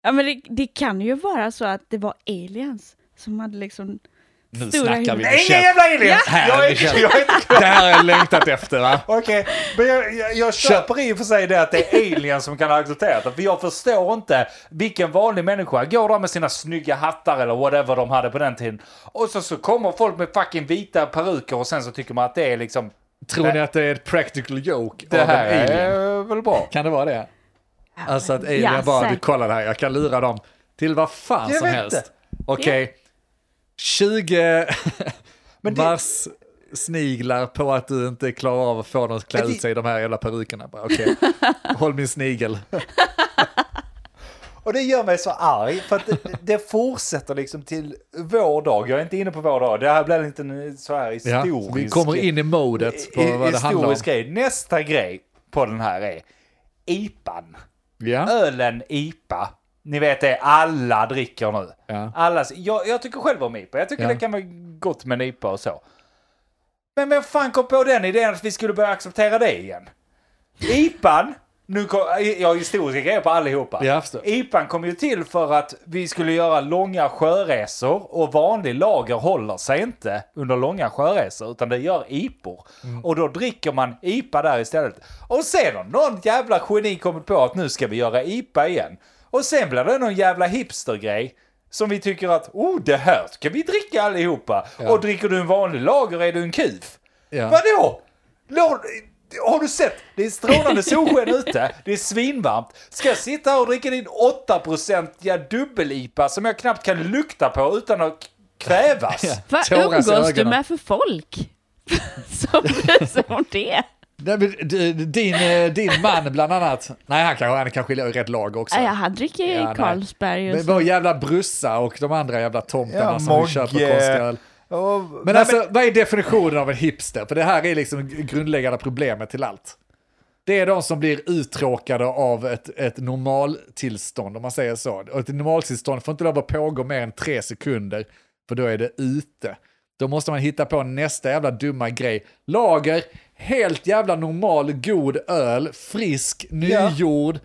Ja, men det, det kan ju vara så att det var aliens som hade liksom... Nu Stora snackar vi. huvud. Nej, Michel. inga jävla aliens! Här, Jag är, Michel. jag är inte Det här har jag längtat efter va? Okej, men jag, jag, jag köper i och för sig det att det är alien som kan ha accepterat det. För jag förstår inte vilken vanlig människa går där med sina snygga hattar eller whatever de hade på den tiden. Och så, så kommer folk med fucking vita peruker och sen så tycker man att det är liksom... Tror ni att det är ett practical joke Det av här en alien? är väl bra. Kan det vara det? Alltså att alien Ja, bara, du säkert. kolla det här, jag kan lura dem till vad fan Jag som vet helst. inte. Okej, 20 Men det- mars sniglar på att du inte klarar av att få dem att klä Men det- ut sig i de här jävla perukerna. Bara, Okej, håll min snigel. Och det gör mig så arg för att det, det fortsätter liksom till vår dag. Jag är inte inne på vår dag. Det här blir inte en så här Ja, historisk... vi kommer in i modet på i- vad det handlar om. historisk grej. Nästa grej på den här är IPAn. Ja. ölen IPA. Ni vet det, alla dricker nu. Ja. Alla, jag, jag tycker själv om IPA. Jag tycker Ja. det kan vara gott med en IPA och så. Men vem fan kom på den idén att vi skulle börja acceptera det igen? IPAn, nu kom, jag har historiska grejer på allihopa. Ja, jag förstår. IPAn kom ju till för att vi skulle göra långa sjöresor och vanlig lager håller sig inte under långa sjöresor utan det gör IPOR. Mm. Och då dricker man IPA där istället. Och sen har någon jävla geni kommit på att nu ska vi göra IPA igen. Och sen blir det någon jävla hipstergrej som vi tycker att oh det här ska vi dricka allihopa. Och dricker du en vanlig lager är du en kuf. Ja. Vadå? Lå- Har du sett? Det är strålande solsken ute, det är svinvarmt. Ska jag sitta här och dricka din 8-procentiga dubbel-IPA som jag knappt kan lukta på utan att k- kvävas? Vad Tårar i umgås du ögonen. med för folk? som bryr sig om det? Nej, men d- Din, eh, din man bland annat, nej han kanske, han kanske är i rätt lag också. Ja, ja, han dricker ju Ja, nej. Carlsberg och Men så. vår jävla brussa och de andra jävla tomtarna Ja, som Mogge. köper konstiga öl. Och- Men Nej, alltså, vad är definitionen av en hipster? För det här är liksom grundläggande problemet till allt. Det är de som blir uttråkade av ett, ett normaltillstånd, om man säger så. Och ett normaltillstånd får inte lov att pågå mer än tre sekunder, för då är det ute. Då måste man hitta på nästa jävla dumma grej. Lager, helt jävla normal, god öl, frisk, nygjord,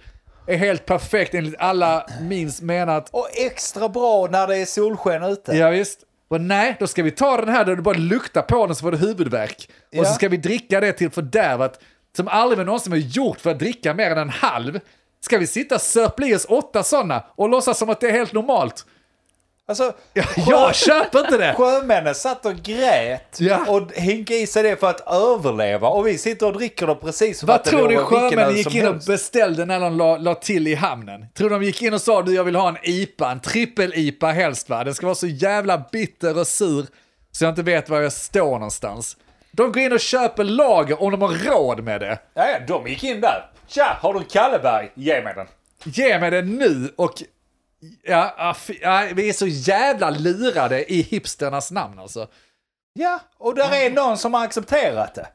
är helt perfekt enligt alla minst menat Och extra bra när det är solsken ute. Ja, visst. Och nej, då ska vi ta den här där du bara luktar på den så får du huvudvärk. Ja. Och så ska vi dricka det till fördärvat som aldrig någonsin har gjort för att dricka mer än en halv. Ska vi sitta och sörpla i oss åtta sådana och låtsas som att det är helt normalt? Alltså, sjö- Jag köper inte det! Sjömännen satt och grät Ja. och hinkade i sig det för att överleva och vi sitter och dricker det precis som Vad att det tror du vore vilken öl sjömännen gick som in och helst. beställde när de la, la till i hamnen? Tror du de gick in och sa du jag vill ha en IPA, en trippel-IPA helst va? Den ska vara så jävla bitter och sur så jag inte vet var jag står någonstans. De går in och köper lager om de har råd med det. Ja, ja, de gick in där. Tja, har du en Kalleberg? Ge mig den. Ge mig den nu och Ja, ah, fy- ja, vi är så jävla lurade i hipsternas namn alltså. Ja, och där är någon som har accepterat det.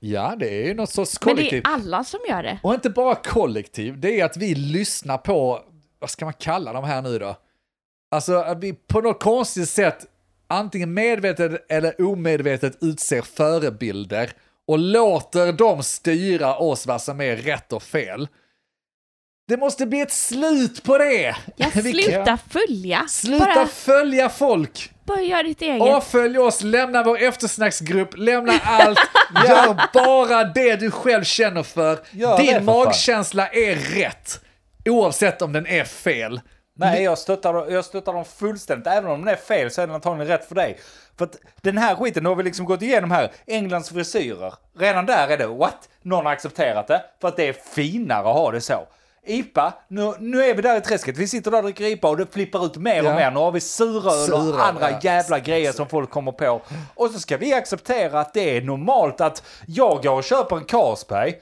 Ja, det är ju något sorts Men det kollektiv. är alla som gör det. Och inte bara kollektiv, det är att vi lyssnar på, vad ska man kalla dem här nu då? Alltså att vi på något konstigt sätt, antingen medvetet eller omedvetet utser förebilder och låter dem styra oss vad som är rätt och fel. Det måste bli ett slut på det! Ja, Vi kan- sluta följa. Sluta Bara, följa folk! bara gör ditt eget. Avfölj oss, lämna vår eftersnacksgrupp, lämna allt. Gör bara det du själv känner för. Gör det Din för fan. magkänsla är rätt, oavsett om den är fel. Nej, jag stöttar, jag stöttar dem fullständigt. Även om det är fel så är det antagligen rätt för dig. För att den här skiten, nu har vi liksom gått igenom här. Englands frisyrer. Redan där är det what? Någon har accepterat det för att det är finare att ha det så. IPA, nu, nu är vi där i träsket. Vi sitter där och dricker IPA och det flippar ut mer Ja. och mer. Nu har vi suröl Suröl, och andra ja. jävla grejer som folk kommer på. Och så ska vi acceptera att det är normalt att jag går och köper en Carlsberg,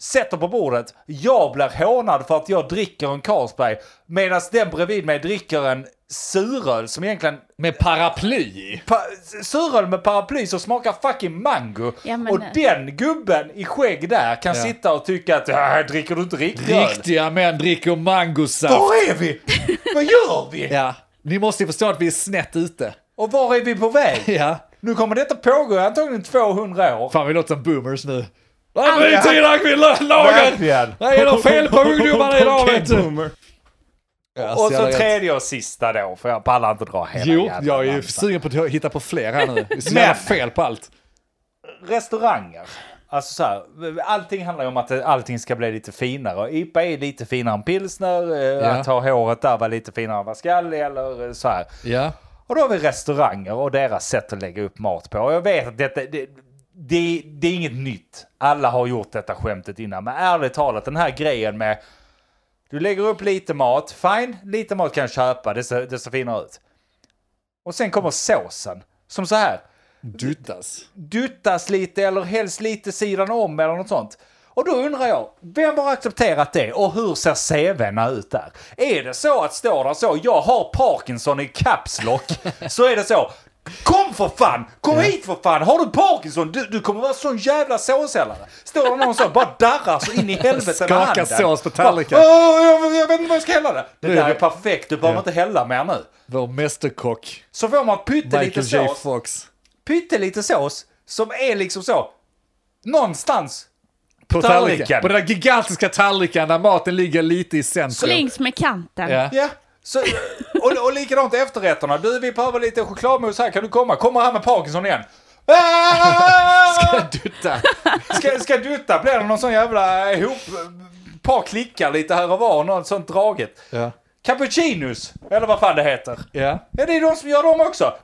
sätter på bordet, jag blir hånad för att jag dricker en Carlsberg, medan den bredvid mig dricker en suröl som egentligen... Med paraply. Pa, suröl med paraply som smakar fucking mango. Ja, men- eh, och den gubben i skägg där kan Ja. sitta och tycka att äh, dricker du inte riktig öl? Riktiga män dricker mangosaft. Var är vi? Vad gör vi? Ja. Ni måste ju förstå att vi är snett ute. Och var är vi på väg? Ja. Nu kommer detta pågå i antagligen 200 år. Fan, vi låter som boomers nu. Ja, men i tiden vi la- lagar! Verkligen. Det är något fel på ungdomarna idag, vet du. Ja, Och jävla så rätt. tredje och sista då, för jag pallar inte dra hela Jo, jävla jag är ju ramsan. sugen på att hitta på fler här nu. Det är så jävla Men- fel på allt. Restauranger. Alltså så här, allting handlar ju om att allting ska bli lite finare. Och IPA är lite finare än pilsner, eh, att ha håret där var lite finare än vad skall eller eh, så här. Ja. Och då har vi restauranger och deras sätt att lägga upp mat på. Och jag vet att detta, det, det, det är inget nytt. Alla har gjort detta skämtet innan. Men ärligt talat, den här grejen med... Du lägger upp lite mat, fine, lite mat kan jag köpa, det ser, det ser finare ut. Och sen kommer såsen, som så här Duttas. duttas lite eller helst lite sidan om eller något sånt. Och då undrar jag, vem har accepterat det och hur ser CVna ut där? Är det så att står där så, jag har Parkinson i caps lock, så är det så. Kom för fan! Kom hit för fan! Har du Parkinson? Du, du kommer vara sån jävla såshällare. Står det någon så bara darrar så in i helvete med Skakar handen. sås på tallriken. Bara, "Åh, jag, jag vet inte vad jag ska hälla det. Det Nu är där vi- är perfekt, du behöver inte hälla mer nu. Vår mästerkock, Så får man pyttelite Michael J sås Fox. pyttelite sås som är liksom så någonstans. På Tallriken. tallriken. På den där gigantiska tallriken där maten ligger lite i centrum. Längs med kanten. Ja. Ja. Så, och, och likadant efterrätterna. Du, vi behöver lite chokladmousse här. Kan du komma? Kommer han med Parkinson igen? Ska Ah! dutta. Ska, ska dutta? Blir det någon sån jävla ihop... Par klickar lite här och var. Något sånt draget. Ja. Cappuccinos, eller vad fan det heter. Ja. Ja, det är de som gör dem också.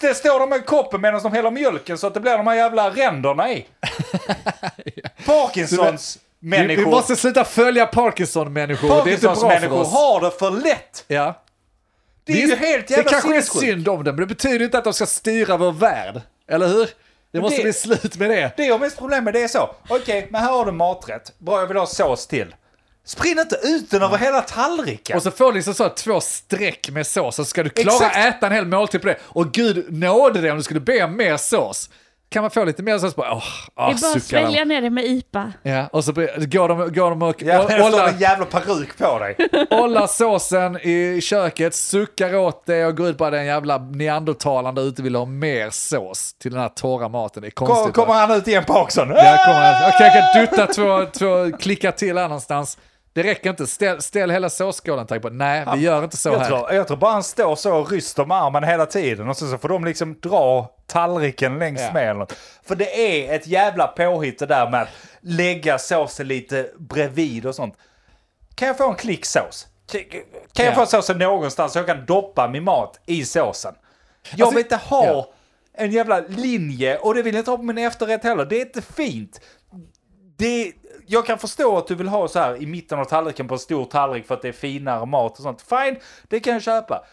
Det står de med koppen medan de häller mjölken så att det blir de här jävla ränderna i. Parkinsons Vi, vi människor. måste sluta följa Parkinson-människor. Det är inte bra Parkinsons för människor oss. har det för lätt. Ja. Det är ju helt Det jävla kanske är sinnessjukt. synd om dem, men det betyder inte att de ska styra vår värld. Eller hur? Det måste det- bli slut med det. Det jag har mest problem med det är så. Okej, men här har du maträtt. Bra, jag vill ha sås till. Sprid inte ut den över hela tallriken. Och så får du liksom så här två streck med sås, så ska du klara att Exakt. äta en hel måltid på det. Och gud nåde dig om du skulle be om mer sås. Kan man få lite mer sås bara, åh, det ah, är bara att suckar de. svälja ner det med IPA. Ja, och så blir- går de, går de och Ja, det står ollar, en jävla peruk på dig. ollar såsen i köket, suckar åt det och går ut bara den jävla neandertalaren där ute vill ha mer sås till den här torra maten. Det är konstigt. Kom- va? Kommer han ut igen Parkinson? Ja, kommer han. Okej, jag kan dutta två, två klickar till här någonstans. Det räcker inte. Ställ, ställ hela såsskålen tack på. Nej, vi gör inte så Jag här. tror, jag tror bara han står så och ryster med armen hela tiden och sen så får de liksom dra tallriken längs Ja. med eller något. För det är ett jävla påhitt det där med att lägga såsen lite bredvid och sånt. Kan jag få en klicksås? Kan- Kan jag Ja. få såsen någonstans så jag kan doppa min mat i såsen? Jag Alltså, vill inte ha ja. en jävla linje och det vill jag inte ha på min efterrätt heller. Det är inte fint. Det, jag kan förstå att du vill ha så här i mitten av tallriken på en stor tallrik för att det är finare mat och sånt. Fine, det kan jag köpa.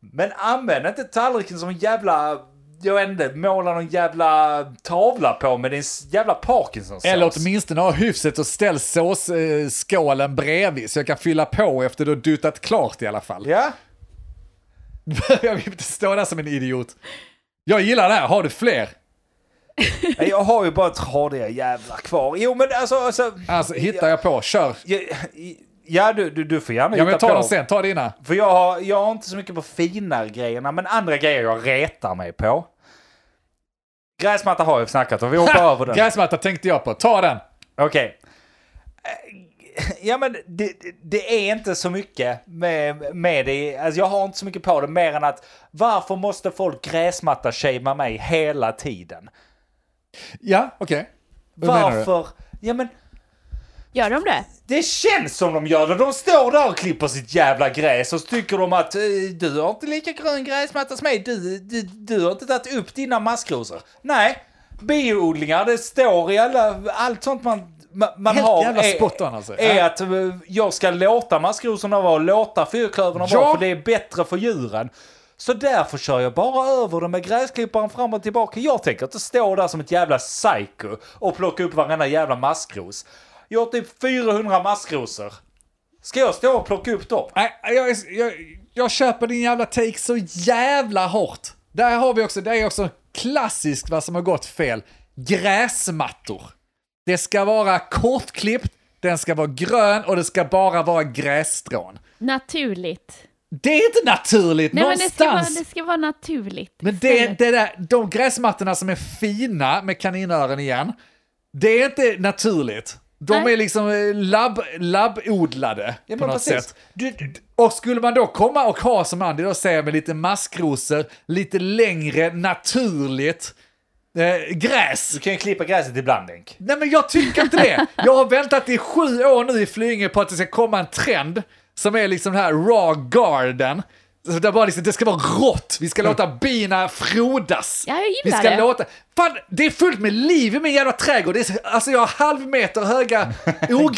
Men använd inte tallriken som en jävla jag vet inte, måla någon jävla tavla på med din jävla Parkinsons. Eller åtminstone ha hyfset och ställ såsskålen bredvid så jag kan fylla på efter du har duttat klart i alla fall. Ja, jag vill inte stå där som en idiot. Jag gillar det här, har du fler? Nej, jag har ju bara tradiga jävlar kvar. Jo men alltså, alltså Alltså, hittar jag på, kör. ja, ja du, du, du får gärna Ja, men ta på. dem sen, ta dina. För jag har, jag har inte så mycket på finare grejerna, men andra grejer jag retar mig på. Gräsmatta har jag snackat om, vi hoppar över den. Gräsmatta tänkte jag på, ta den. Okej. Eh, Ja men det, det är inte så mycket med, med det. Alltså, jag har inte så mycket på det mer än att varför måste folk gräsmatta-shamea mig hela tiden? Ja, okej. Hur menar du? Varför? Ja men Gör de det? Det känns som de gör det. De står där och klipper sitt jävla gräs och så tycker de att eh, du har inte lika grön gräsmatta som mig. Du, du, du har inte tagit upp dina maskrosor. Nej, biodlingar, det står i alla, allt sånt man, man, man Helt har. jävla är- spot on alltså. Är Ja. att eh, jag ska låta maskrosorna vara och låta fyrklöverna Ja. vara för det är bättre för djuren. Så därför kör jag bara över dem med gräsklipparen fram och tillbaka. Jag tänker inte stå där som ett jävla psycho och plocka upp varenda jävla maskros. Jag har typ 400 maskrosor. Ska jag stå och plocka upp dem? Nej, jag, är- jag, jag köper din jävla take så jävla hårt. Där har vi också, det är också klassiskt vad som har gått fel. Gräsmattor. Det ska vara kortklippt, den ska vara grön och det ska bara vara grässtrån. Naturligt. Det är inte naturligt Nej, men det, ska vara, någonstans. det ska vara naturligt. Men det, istället. det där, de gräsmattorna som är fina med kaninöron igen, det är inte naturligt. De Nej. är liksom eh, labb, labbodlade men på något precis. sätt. och skulle man då komma och ha som Andy då säger med lite maskrosor, lite längre naturligt eh, gräs. Du kan ju klippa gräset ibland, Denk. Nej men jag tycker inte det. Jag har väntat i sju år nu i Flyinge på att det ska komma en trend som är liksom den här raw garden. Så Där bara liksom, det ska vara rått, vi ska låta bina frodas. Mm. Ja, jag gillar vi ska det. Låta... Fan, det är fullt med liv i min jävla trädgård. Det är, så- alltså jag har halvmeter höga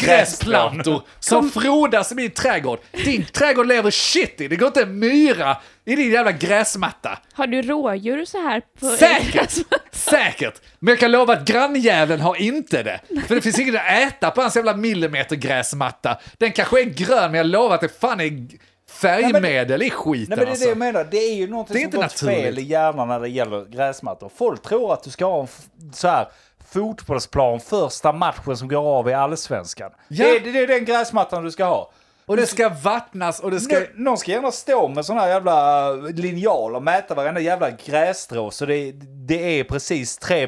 ogräsplantor som frodas i min trädgård. Din trädgård lever shit i, det går inte en myra i din jävla gräsmatta. Har du rådjur så här? På Säkert! Säkert! Men jag kan lova att grannjäveln har inte det. För det finns inget att äta på hans jävla millimetergräsmatta. Den kanske är grön, men jag lovar att det fan är färgmedel i skiten Nej men det är det alltså. jag menar, det är ju någonting Det är som inte gått fel i naturligt. hjärnan när det gäller gräsmattor. Folk tror att du ska ha en f- så här fotbollsplan första matchen som går av i allsvenskan. Ja. Det, är- det är den gräsmattan du ska ha. Och det ska vattnas och det ska... Nå- Någon ska gärna stå med sån här jävla eh, linjal och mäta varenda jävla grässtrå så det, det är precis tre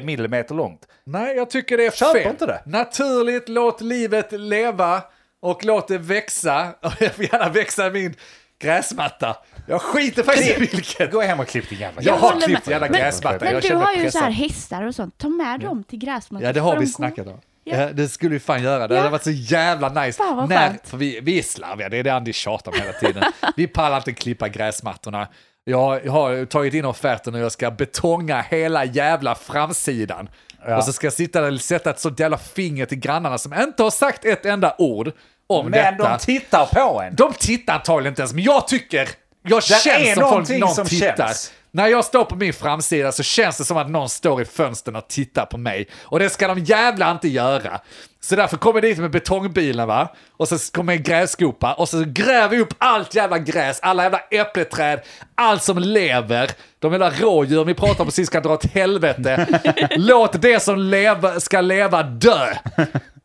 millimeter långt. Nej, jag tycker det är Köper fel. inte det. Naturligt, låt livet leva och låt det växa. Och jag får gärna växa i min gräsmatta. Jag skiter faktiskt i vilket. Gå hem och klipp din jävla Jag gräs. har håller klippt med. jävla Men- gräsmatta. Men jag du känner har mig ju så här pressad. hästar och sånt. Ta med dem till gräsmattan. Ja, det så har de vi går. snackat om. Ja. Ja. Det skulle vi fan göra. Det Ja. hade varit så jävla nice. Fan, vad När, skönt. för vi, vi är slarviga, det är det Andy tjatar om hela tiden. vi pallar inte klippa gräsmattorna. Jag har tagit in offerten och jag ska betonga hela jävla framsidan. Och så ska jag sitta där och sätta ett sånt jävla finger till grannarna som inte har sagt ett enda ord om Men detta. de tittar på en. De tittar antagligen inte ens, men jag tycker... Jag Där känns är som folk, någonting någon som tittar. känns. När jag står på min framsida så känns det som att någon står i fönstren och tittar på mig. Och det ska de jävla inte göra. Så därför kommer jag dit med betongbilen va. Och så kommer en grävskopa och så gräver vi upp allt jävla gräs, alla jävla äppleträd, allt som lever. De jävla rådjuren vi pratade om precis ska dra åt helvete. Låt det som lever, ska leva dö.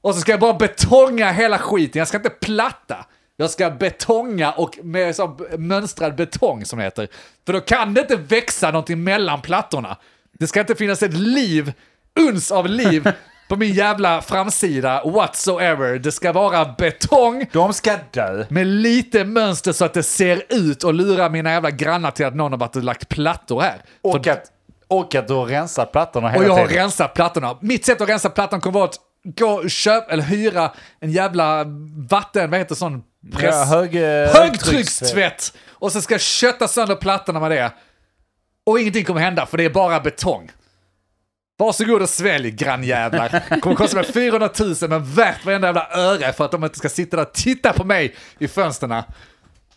Och så ska jag bara betonga hela skiten, jag ska inte platta. Jag ska betonga och med så mönstrad betong som det heter. För då kan det inte växa någonting mellan plattorna. Det ska inte finnas ett liv, uns av liv, på min jävla framsida whatsoever. Det ska vara betong De ska dö. med lite mönster så att det ser ut och lurar mina jävla grannar till att någon har varit och lagt plattor här. Och För- att, och att du har rensat plattorna hela och jag har tiden. rensat plattorna. Mitt sätt att rensa plattan kommer vara att gå och köpa eller hyra en jävla vatten, vad heter sån? Press... Ja, hög, eh, eh, högtryckstvätt! Och så ska jag kötta sönder plattorna med det. Och ingenting kommer hända för det är bara betong. Varsågod och svälj grannjävlar. Kommer kosta mig 400 000 men värt varenda jävla öre för att de inte ska sitta där och titta på mig i fönstren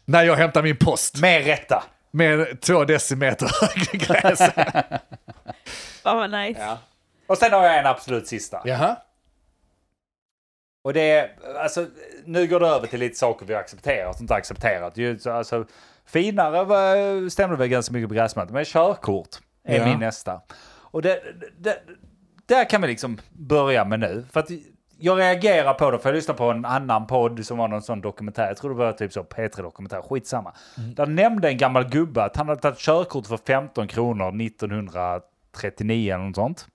när jag hämtar min post. Med rätta. med två decimeter högre gräs. Fan vad nice. Ja. Och sen har jag en absolut sista. Jaha. Och det är, alltså, nu går det över till lite saker vi har accepterat och inte accepterat. Ju, så, Alltså, finare var- stämde väl ganska mycket på gräsmattan, men körkort är Ja. min nästa. Och det, det, där kan vi liksom börja med nu. För att jag reagerar på det, för jag lyssnade på en annan podd som var någon sån dokumentär, jag tror det var typ så P3-dokumentär, skitsamma. Där nämnde en gammal gubbe att han hade tagit körkort för 15 kronor 1939 eller något sånt.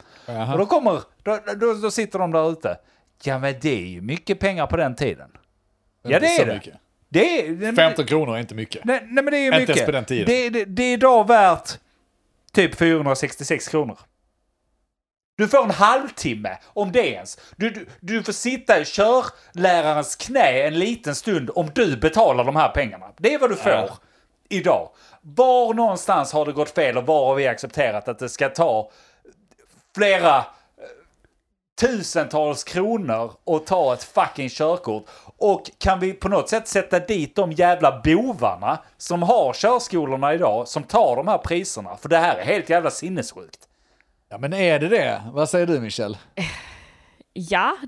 Och då kommer, då, då, då sitter de där ute. Ja men det är ju mycket pengar på den tiden. ja Inte det så är det. mycket. Det är... nej, men- 15 kronor är inte mycket. Nej, nej men det är ju Inte mycket. ens på den tiden. Det, det, det är idag värt typ 466 kronor. Du får en halvtimme, om det ens. Du, du, du får sitta i körlärarens knä en liten stund om du betalar de här pengarna. Det är vad du får Ja. idag. Var någonstans har det gått fel och var har vi accepterat att det ska ta flera eh, tusentals kronor och ta ett fucking körkort. Och kan vi på något sätt sätta dit de jävla bovarna som har körskolorna idag, som tar de här priserna? För det här är helt jävla sinnessjukt. Ja, men är det det? Vad säger du Michel?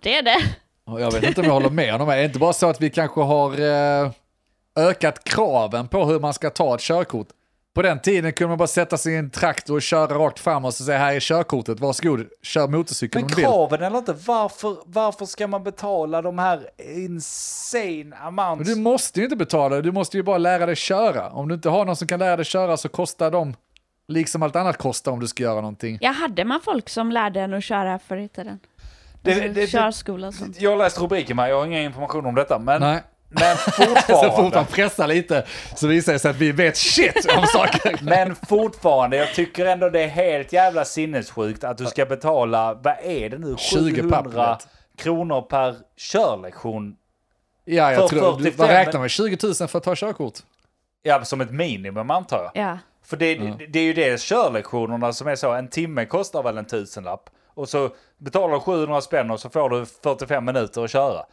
det är det. Och Jag vet inte om jag håller med honom. Är det inte bara så att vi kanske har eh, ökat kraven på hur man ska ta ett körkort? På den tiden kunde man bara sätta sig i en traktor och köra rakt fram och så säga här är körkortet, varsågod, kör motorcykel Men om du vill. kraven eller inte, varför, varför ska man betala de här insane Men amounts? du måste ju inte betala, du måste ju bara lära dig köra. Om du inte har någon som kan lära dig köra så kostar de, liksom allt annat kostar om du ska göra någonting. Ja, hade man folk som lärde en att köra förr i tiden? Det- Alltså, det- det- körskola och sånt. Jag läste rubriken men jag har ingen information om detta. Men, Nej. men Så fort man fortfarande. pressar lite så visar det sig att vi vet shit om saker. Men fortfarande, jag tycker ändå det är helt jävla sinnessjukt att du ska betala, vad är det nu, 20 700 pappret. kronor per körlektion? Ja, För jag tror, du- 45, vad räknar men- man? 20 000 för att ta körkort? Ja, som ett minimum antar jag. Ja. För det, det, det är ju det körlektionerna som är så, en timme kostar väl en tusenlapp. Och så betalar du 700 spänn och så får du 45 minuter att köra.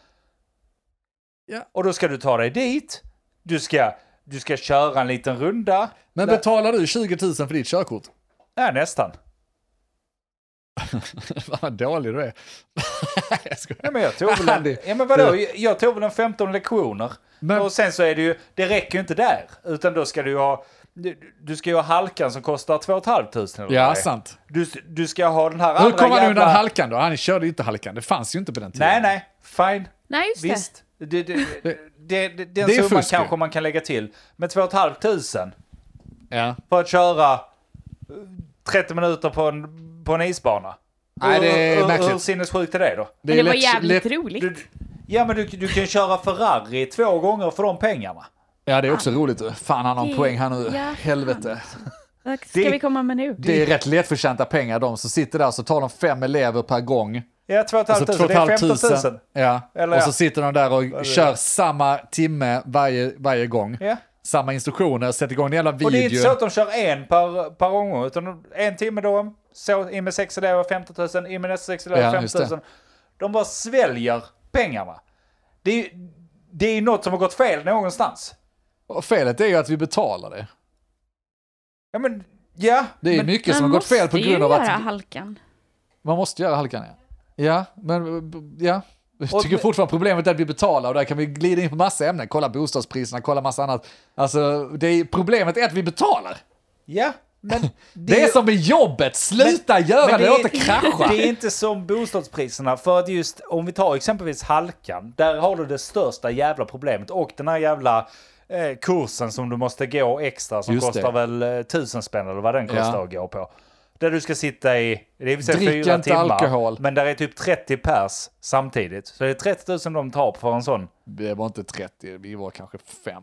Ja. Och då ska du ta dig dit, du ska, du ska köra en liten runda. Men Lä- betalar du 20 000 för ditt körkort? Ja, nästan. Fan vad dålig du är. Jag skojar. Ja, men jag tog väl en, Andy, ja, men vadå? du- Jag tog väl en 15 lektioner. Men- Och sen så är det ju, det räcker ju inte där. Utan då ska du ju ha, du, du ska ju ha halkan som kostar 2 500 eller vad ja, det är. sant. Du, du ska ha den här Hur andra kom han jävla... undan halkan då? Han körde ju inte halkan, det fanns ju inte på den tiden. Nej, nej, fine. Nej, just det. Visst. Det, det, det, det, den Det är summan fusk ju. kanske man kan lägga till. Men 2 500 Ja. för att köra eh, 30 minuter på en, på en isbana. Nej, det är Hur- hur, hur märkligt. sinnessjukt är det då? Men det var lätt- jävligt lätt- roligt. Du, ja, men du, du kan köra Ferrari två gånger för de pengarna. Ja, det är också roligt. Fan, han har en Det- poäng här nu. ja, fan. Helvete. Vad ska det- vi komma med nu? Det är rätt lättförtjänta pengar de som sitter där så tar de fem elever per gång. Ja, 2 500. Alltså det är 15 000. Ja. Eller och så ja. sitter de där och kör samma timme varje, varje gång. Ja. Samma instruktioner, sätter igång en jävla video. Och det är inte så att de kör en per, per omgång, utan en timme då, så in med sex elever 15 000, in med nästa sex elever Ja, 15 just 000. De bara sväljer pengarna. Det är ju det är ju något som har gått fel någonstans. Och felet är ju att vi betalar det. Ja, men ja. Det är men, mycket som har gått fel på grund av Man att måste ju göra halkan. Man måste göra halkan, ja. Ja, men b- ja. Jag Och- tycker fortfarande problemet är att vi betalar och där kan vi glida in på massa ämnen. Kolla bostadspriserna, kolla massa annat. Alltså, det är, problemet är att vi betalar. ja, men Det, är ju- som med jobbet, sluta göra Men det, det är- och inte krascha. Det är inte som bostadspriserna, för att just om vi tar exempelvis halkan, där har du det största jävla problemet och den här jävla eh, kursen som du måste gå extra som Just det. kostar väl eh, tusen spänn eller vad den kostar Ja. att gå på. Där du ska sitta i, det är i och för sig Drick fyra inte timmar, alkohol. men där är typ 30 pers samtidigt. Så det är 30 000 de tar för en sån. Det var inte 30, vi var kanske fem.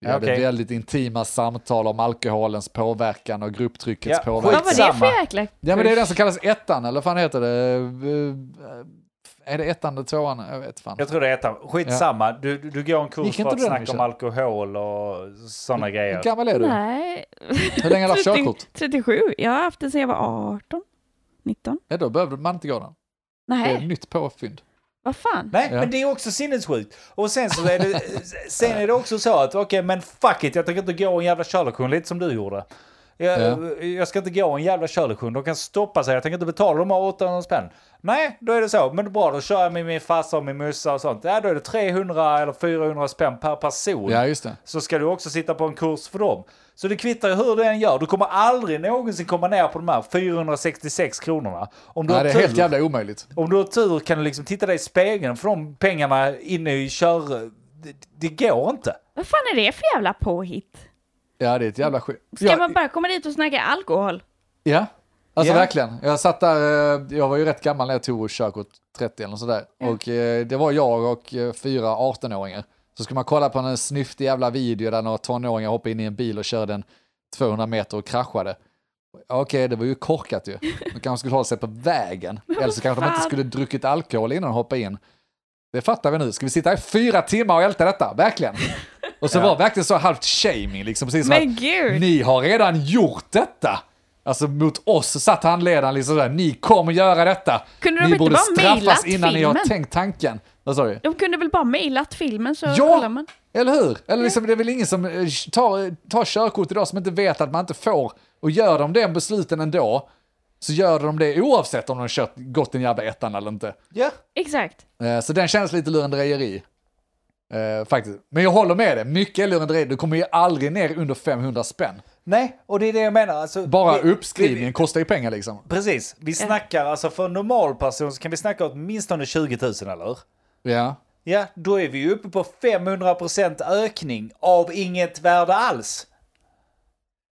Vi Ja, hade okej. väldigt intima samtal om alkoholens påverkan och grupptryckets Ja, påverkan. Vad var det Skitsamma. för jäkla Ja, men det är den kurs? som kallas ettan, eller vad fan heter det? Eh, Är det ettan eller tvåan? Jag vet fan. Jag tror det är ettan. Skitsamma, du, du, du går en Gick kurs inte för att du den, snacka om Michel? alkohol och sådana Hur grejer. gammal är du? Nej. Hur länge har du haft körkort? 37. Jag har haft det sedan jag var 18. 19. Ja, då behövde man inte gå den. Det är Nej. ett nytt påfynd. Vad fan? Nej, Ja. men det är också sinnessjukt. Och sen så är det, sen är det också så att okej, men fuck it, jag tänker inte gå en jävla körlektion lite som du gjorde. Jag, Ja. jag ska inte gå en jävla körlektion, de kan stoppa sig, jag tänker inte betala de här 800 spänn. Nej, då är det så, men bra då kör jag med min farsa och min morsa och sånt. Ja, då är det 300 eller 400 spänn per person. Ja, just det. Så ska du också sitta på en kurs för dem. Så det kvittar ju hur du än gör, du kommer aldrig någonsin komma ner på de här 466 kronorna. Om du Nej, har det är helt tur. jävla omöjligt. Om du har tur kan du liksom titta dig i spegeln för de pengarna inne i kör... Det, det går inte. Vad fan är det för jävla påhitt? Ja, det är ett jävla skit. Ska Ja, man bara komma dit och snacka alkohol? Ja, alltså Ja. verkligen. Jag satt där, eh, jag var ju rätt gammal när jag tog körkort 30 eller sådär. Och eh, det var jag och eh, fyra 18-åringar. Så skulle man kolla på en snyftig jävla video där några tonåringar hoppade in i en bil och körde den 200 meter och kraschade. Okej, det var ju korkat ju. De kanske skulle hålla sig på vägen. Eller så kanske de inte fan? skulle druckit alkohol innan de hoppade in. Det fattar vi nu. Ska vi sitta i fyra timmar och älta detta? Verkligen. Och så var det verkligen så halvt shaming, liksom precis som att Men gud! ni har redan gjort detta. Alltså mot oss satt handledaren liksom sådär, ni kommer göra detta. Kunde de ni inte borde bara straffas mailat innan ni har filmen? tänkt tanken. Vad sa du? De kunde väl bara mejlat filmen så kollar Ja, man. eller hur? Eller liksom, det är väl ingen som eh, tar, tar körkort idag som inte vet att man inte får. Och gör de den besluten ändå, så gör de det oavsett om de kört, gått den jävla ettan eller inte. Ja. Exakt. Eh, Så den känns lite lurendrejeri. Eh, faktiskt. Men jag håller med dig, mycket är lurendrejeri. Du kommer ju aldrig ner under 500 spänn. Nej, och det är det jag menar. Alltså, Bara vi- vi- uppskrivningen kostar ju pengar liksom. Precis, vi snackar alltså för en normal person så kan vi snacka åtminstone 20 000 eller hur? Ja. Ja, då är vi ju uppe på 500% ökning av inget värde alls.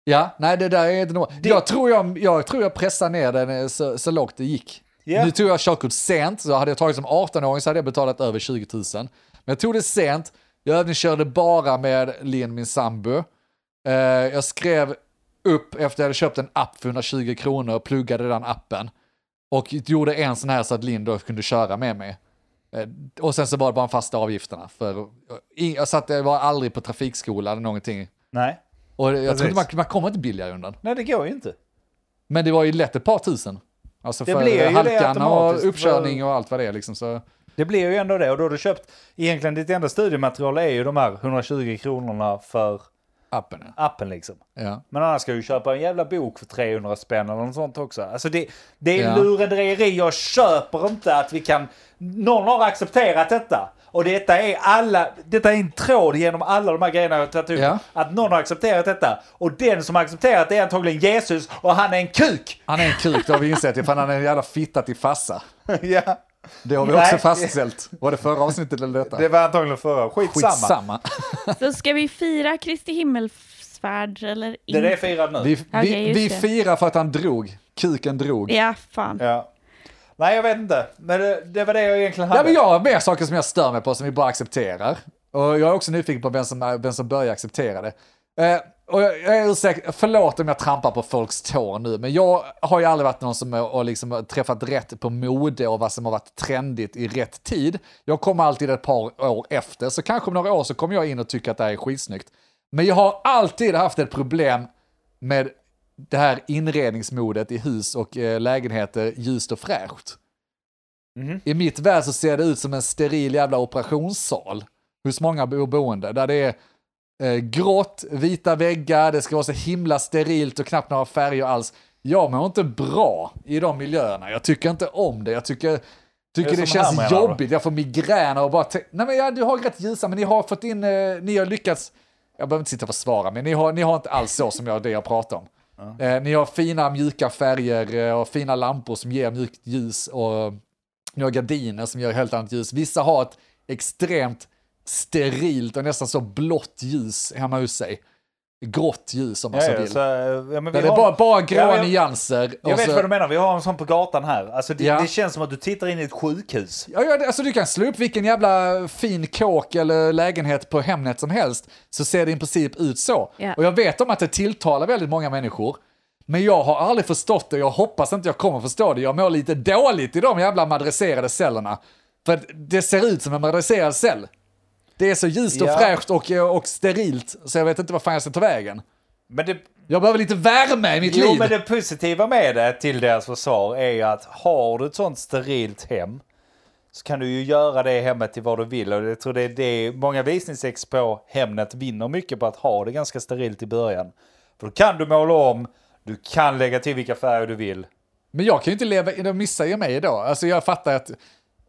Ja, nej det där är inte något. Det- Jag, tror jag, jag tror jag pressade ner den eh, så, så lågt det gick. Ja. Nu tog jag körkort sent, så hade jag tagit som 18-åring så hade jag betalat över 20 000. Men jag tog det sent, jag övningskörde bara med Linn, min sambo. Eh, jag skrev upp efter jag hade köpt en app för 120 kronor och pluggade den appen. Och gjorde en sån här så att Linn då kunde köra med mig. Eh, Och sen så var det bara de fasta avgifterna. För jag, jag, satt, jag var aldrig på trafikskola eller någonting. Nej, Och jag tror inte man, Precis. man kommer inte billigare undan. nej det går ju inte. Men det var ju lätt ett par tusen. Alltså Det för blir ju det halkan och automatiskt. uppkörning och allt vad det är liksom. Så, Det blir ju ändå det och då har du köpt, egentligen ditt enda studiematerial är ju de här 120 kronorna för appen ja. appen liksom. ja. Men annars ska du köpa en jävla bok för 300 spänn eller något sånt också. Alltså det, det är Ja. lurendrejeri. Jag köper inte att vi kan... Någon har accepterat detta. Och detta är alla... Detta är en tråd genom alla de här grejerna jag har tagit upp. Ja. Att någon har accepterat detta. Och den som har accepterat det är antagligen Jesus och han är en kuk! Han är en kuk, det har vi insett. Fan, han är en jävla fitta till fassa. ja, Det har vi Nej. också fastställt. Var det förra avsnittet eller detta? det var antagligen förra. Skitsamma. Skitsamma. Så ska vi fira Kristi himmelsfärd eller Det inte? är det jag firar nu. Vi, Okej, vi, just vi det. firar för att han drog. Kuken drog. Ja, fan. Ja. Nej, jag vet inte. Men det, det var det jag egentligen hade. Ja, men jag har mer saker som jag stör mig på som vi bara accepterar. Och jag är också nyfiken på vem som, vem som börjar acceptera det. Eh, och jag, jag är ursäkt, förlåt om jag trampar på folks tår nu, men jag har ju aldrig varit någon som har har liksom har träffat rätt på mode och vad som har varit trendigt i rätt tid. Jag kommer alltid ett par år efter, så kanske om några år så kommer jag in och tycka att det här är skitsnyggt. Men jag har alltid haft ett problem med det här inredningsmodet i hus och eh, lägenheter ljust och fräscht. I mitt värld så ser det ut som en steril jävla operationssal hos många bo- boende där det är eh, grått, vita väggar, det ska vara så himla sterilt och knappt några färger alls. Jag mår inte bra i de miljöerna. Jag tycker inte om det. Jag tycker, tycker Är det det, som här, känns menar du? jobbigt. Jag får migrän och bara tän- Nej men ja, du har rätt ljusa, men ni har fått in, eh, ni har lyckats, jag behöver inte sitta och försvara, men ni har, ni har inte alls så som jag, det jag pratar om. Eh, ni har fina mjuka färger eh, och fina lampor som ger mjukt ljus och ni har gardiner som gör helt annat ljus. Vissa har ett extremt sterilt och nästan så blått ljus hemma hos sig. Grått ljus om man Ja, så ja, vill. så, ja, men Där Alltså, vi det är har- bara, bara gråa Ja, jag- nyanser. Jag och vet så, vad du menar, vi har en sån på gatan här. Alltså det, Alltså- Ja. det känns som att du tittar in i ett sjukhus. Ja, ja, alltså du kan slå upp vilken jävla fin kåk eller lägenhet på Hemnet som helst, så ser det i princip ut så. Ja. Och jag vet om att det tilltalar väldigt många människor, men jag har aldrig förstått det, jag hoppas inte jag kommer förstå det. Jag mår lite dåligt i de jävla madresserade cellerna. För att det ser ut som en madresserad cell. Det är så ljust och Ja. fräscht och, och sterilt, så jag vet inte vad fan jag ska ta vägen. Men det, Jag behöver lite värme i mitt jo, liv. men det positiva med det till deras försvar är ju att har du ett sånt sterilt hem så kan du ju göra det hemmet till vad du vill. Och jag tror det är det många visningsex på Hemnet vinner mycket på att ha det ganska sterilt i början. För då kan du måla om, du kan lägga till vilka färger du vill. Men jag kan ju inte leva, då missar jag mig då. Alltså jag fattar att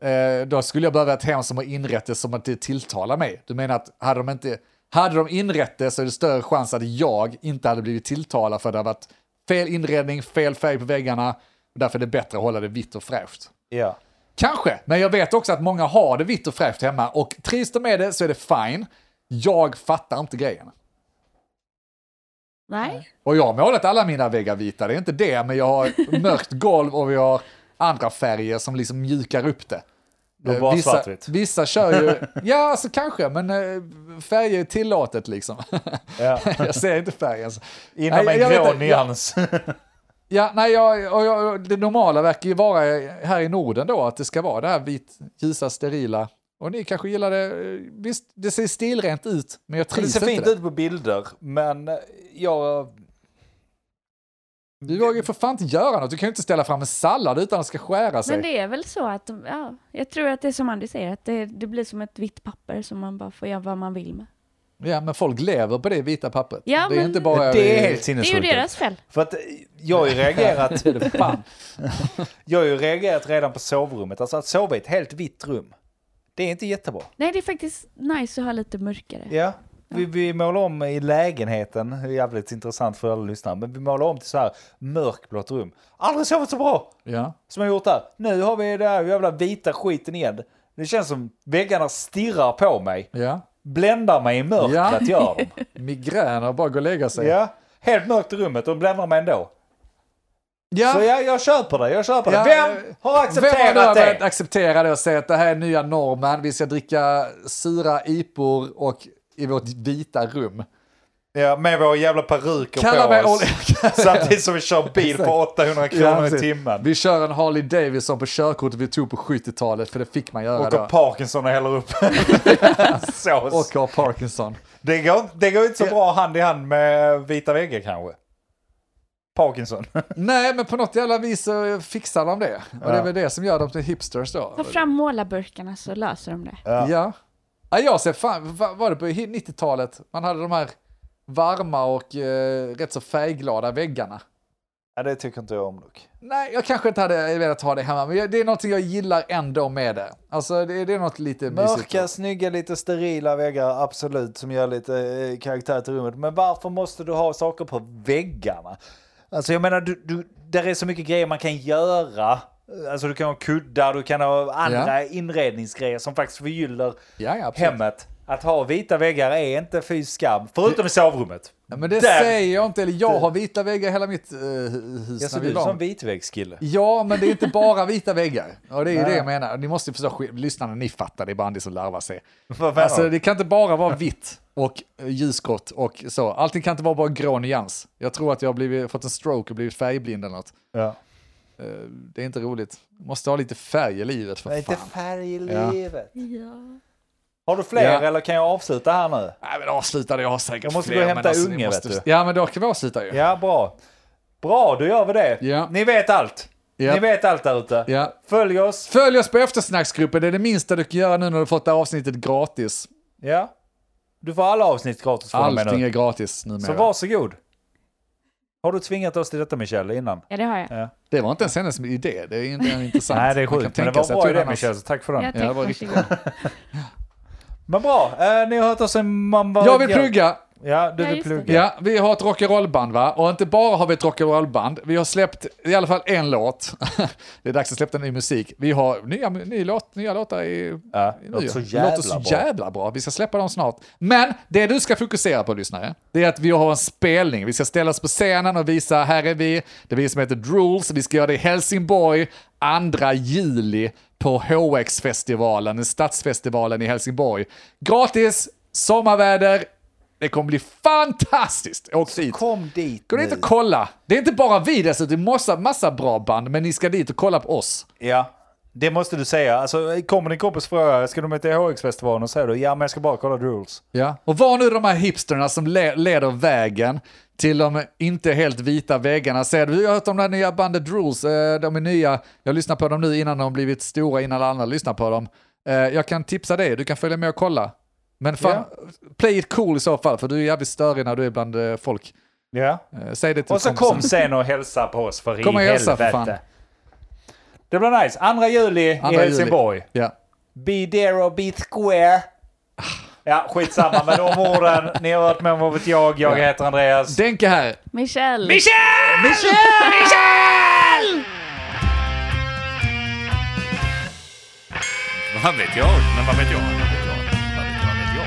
eh, då skulle jag behöva ett hem som har inrett det som att det tilltalar mig. Du menar att hade de inte, hade de inrett det så är det större chans att jag inte hade blivit tilltalad för det har varit fel inredning, fel färg på väggarna. Och därför är det bättre att hålla det vitt och fräscht. Ja. Kanske, men jag vet också att många har det vitt och fräscht hemma och trivs de med det så är det fine. Jag fattar inte grejen. Nej. Och jag har målat alla mina väggar vita, det är inte det, men jag har mörkt golv och vi har andra färger som liksom mjukar upp det. Och Eh, bara vissa, svartvitt. vissa kör ju, ja alltså kanske, men eh, färger är tillåtet liksom. Ja. jag ser inte färgen. så- Inom Nej, en jag vet grå inte. Jag- nyans. Ja, nej, jag, och jag, och det normala verkar ju vara här i Norden då, att det ska vara det här vit, ljusa, sterila. Och ni kanske gillar det, eh, visst, det ser stilrent ut, men jag Det trivs ser inte fint där. ut på bilder, men jag... Du vågar ju för fan inte göra något, du kan ju inte ställa fram en sallad utan att det ska skära sig. Men det är väl så att, de- ja, jag tror att det är som Andy säger, att det, det blir som ett vitt papper som man bara får göra vad man vill med. Ja, men folk lever på det vita pappret. Ja, det är men- inte bara... Det är helt Det är ju sinnessjukt. deras fel. För att eh, jag har ju reagerat, Det är det fan. jag har ju reagerat redan på sovrummet. Alltså att sova i ett helt vitt rum, det är inte jättebra. Nej, det är faktiskt nice att ha lite mörkare. Ja, vi, vi målar om i lägenheten, det är jävligt intressant för alla lyssnare, men vi målar om till så här mörkblått rum. Aldrig sovit så bra Ja. som jag gjort där. Nu har vi den här jävla vita skiten igen. Det känns som väggarna stirrar på mig, ja. bländar mig i mörkret, Ja. gör de. Migrän och bara gå och lägga sig. Ja, helt mörkt i rummet och bländar mig ändå. Ja. Så jag, jag köper det, jag köper det. Ja, eh, Vem har accepterat Vem har nu börjat det? acceptera det och säga att det här är nya normen, vi ska dricka sura ipor och i vårt vita rum. Ja, med våra jävla peruker Kalla på mig oss. Olle- Samtidigt som vi kör bil Exakt. på 800 Ja, kronor i precis. timmen. Vi kör en Harley Davidson på körkortet vi tog på 70-talet, för det fick man göra Och då. har Parkinson och häller upp sås. Och har Parkinson. det, går, inte- det går inte så Ja. bra hand i hand med vita väggar kanske. Parkinson. Nej, men på något jävla vis så fixar de det. Och det är väl det som gör dem till hipsters då. Ta fram målarburkarna så löser de det. Ja. Ja. ja. Jag ser fan, va- var det på 90-talet? Man hade de här varma och eh, rätt så färgglada väggarna. ja, det tycker inte jag om dock. Nej, jag kanske inte hade velat ha det hemma, men jag- det är någonting jag gillar ändå med det. Alltså, det, det är något lite mysigt. Mörka, snygga, lite sterila väggar, absolut, som gör lite eh, karaktär till rummet. Men varför måste du ha saker på väggarna? Alltså jag menar, du, du, där är så mycket grejer man kan göra. Alltså du kan ha kuddar, du kan ha andra inredningsgrejer som faktiskt förgyller Ja, ja, absolut. hemmet. Att ha vita väggar är inte fy skam, förutom i sovrummet. Ja, Men det Där. säger jag inte, eller jag har vita väggar i hela mitt eh, hus. Jag när ser vi ut var. som vitväggskille. Ja, men det är inte bara vita väggar. Och det är ju det jag menar. Ni måste ju förstå, sk- lyssnarna, ni fattar, det är bara Andy som larvar sig. Vad menar Alltså du? det kan inte bara vara vitt och eh, ljusgrått och så. Allting kan inte vara bara grå nyans. Jag tror att jag har blivit, fått en stroke och blivit färgblind eller något. Ja. Eh, Det är inte roligt. Måste ha lite färg i livet för Men inte fan. färg i Ja. livet. Ja. Har du fler Ja. eller kan jag avsluta här nu? Nej men avsluta det, jag har säkert Jag måste fler, gå och men alltså, hämta ni unge, måste- vet Ja men då kan vi avsluta ju. Ja, bra. Bra, då gör vi det. Ja. Ni vet allt. Ja. Ni vet allt där ute. Ja. Följ oss. Följ oss på eftersnacksgruppen, det är det minsta du kan göra nu när du har fått det här avsnittet gratis. Ja. Du får alla avsnitt gratis från och med Allting nu. är gratis numera. Så varsågod. Har du tvingat oss till detta Michelle innan? ja, det har jag. Det var inte ens hennes idé, det är inte intressant. Nej, det är Man kan sjukt. Men det tänka var sig- jag bra tror idé annars- Michelle, så tack för den. Jag Ja, det tack, var varsågod. Men bra, eh, ni har hört oss en mamma... Jag vill plugga! Ja, du Ja, vill just plugga. det. Ja, vi har ett rock'n'roll-band va? Och inte bara har vi ett rock'n'roll-band, vi har släppt i alla fall en låt. det är dags att släppa ny musik. Vi har nya, ny låt, nya låtar i... Ja, i låter nya. så jävla låter så bra. jävla bra. Vi ska släppa dem snart. Men det du ska fokusera på lyssnare, det är att vi har en spelning. Vi ska ställa oss på scenen och visa, här är vi. Det är vi som heter Drools. Vi ska göra det i Helsingborg 2 juli på HX-festivalen, stadsfestivalen i Helsingborg. Gratis, sommarväder. Det kommer bli fantastiskt! Åk dit. Kom dit Gå dit och kolla. Det är inte bara vi dessutom, det är massa, massa bra band, men ni ska dit och kolla på oss. Ja, Det måste du säga. Alltså, kommer din kompis fråga, ska du med till HX-festivalen? Och säger du, ja men jag ska bara kolla the rules. Ja. Och var nu de här hipsterna som le- leder vägen till de inte helt vita väggarna. Säger du, jag har hört om det här nya bandet Rules, eh, de är nya, jag lyssnar på dem nu innan de blivit stora, innan alla andra lyssnar på dem. Eh, Jag kan tipsa dig, du kan följa med och kolla. Men fan, play it cool i så fall, för du är jävligt störig när du är bland eh, folk. Ja. Eh, Säg det till Och så kompisen. kom sen och hälsa på oss för Kom i och hälsa, för helvete. fan. Det blir nice. Andra juli Andra i juli. Helsingborg. Ja. Be there or be square. Ja, skitsamma med de orden. Ni har varit med om vad vet jag. Jag heter Andreas. Denke här. Michelle! Vad vet jag? Men vad vet jag? Vad vet jag?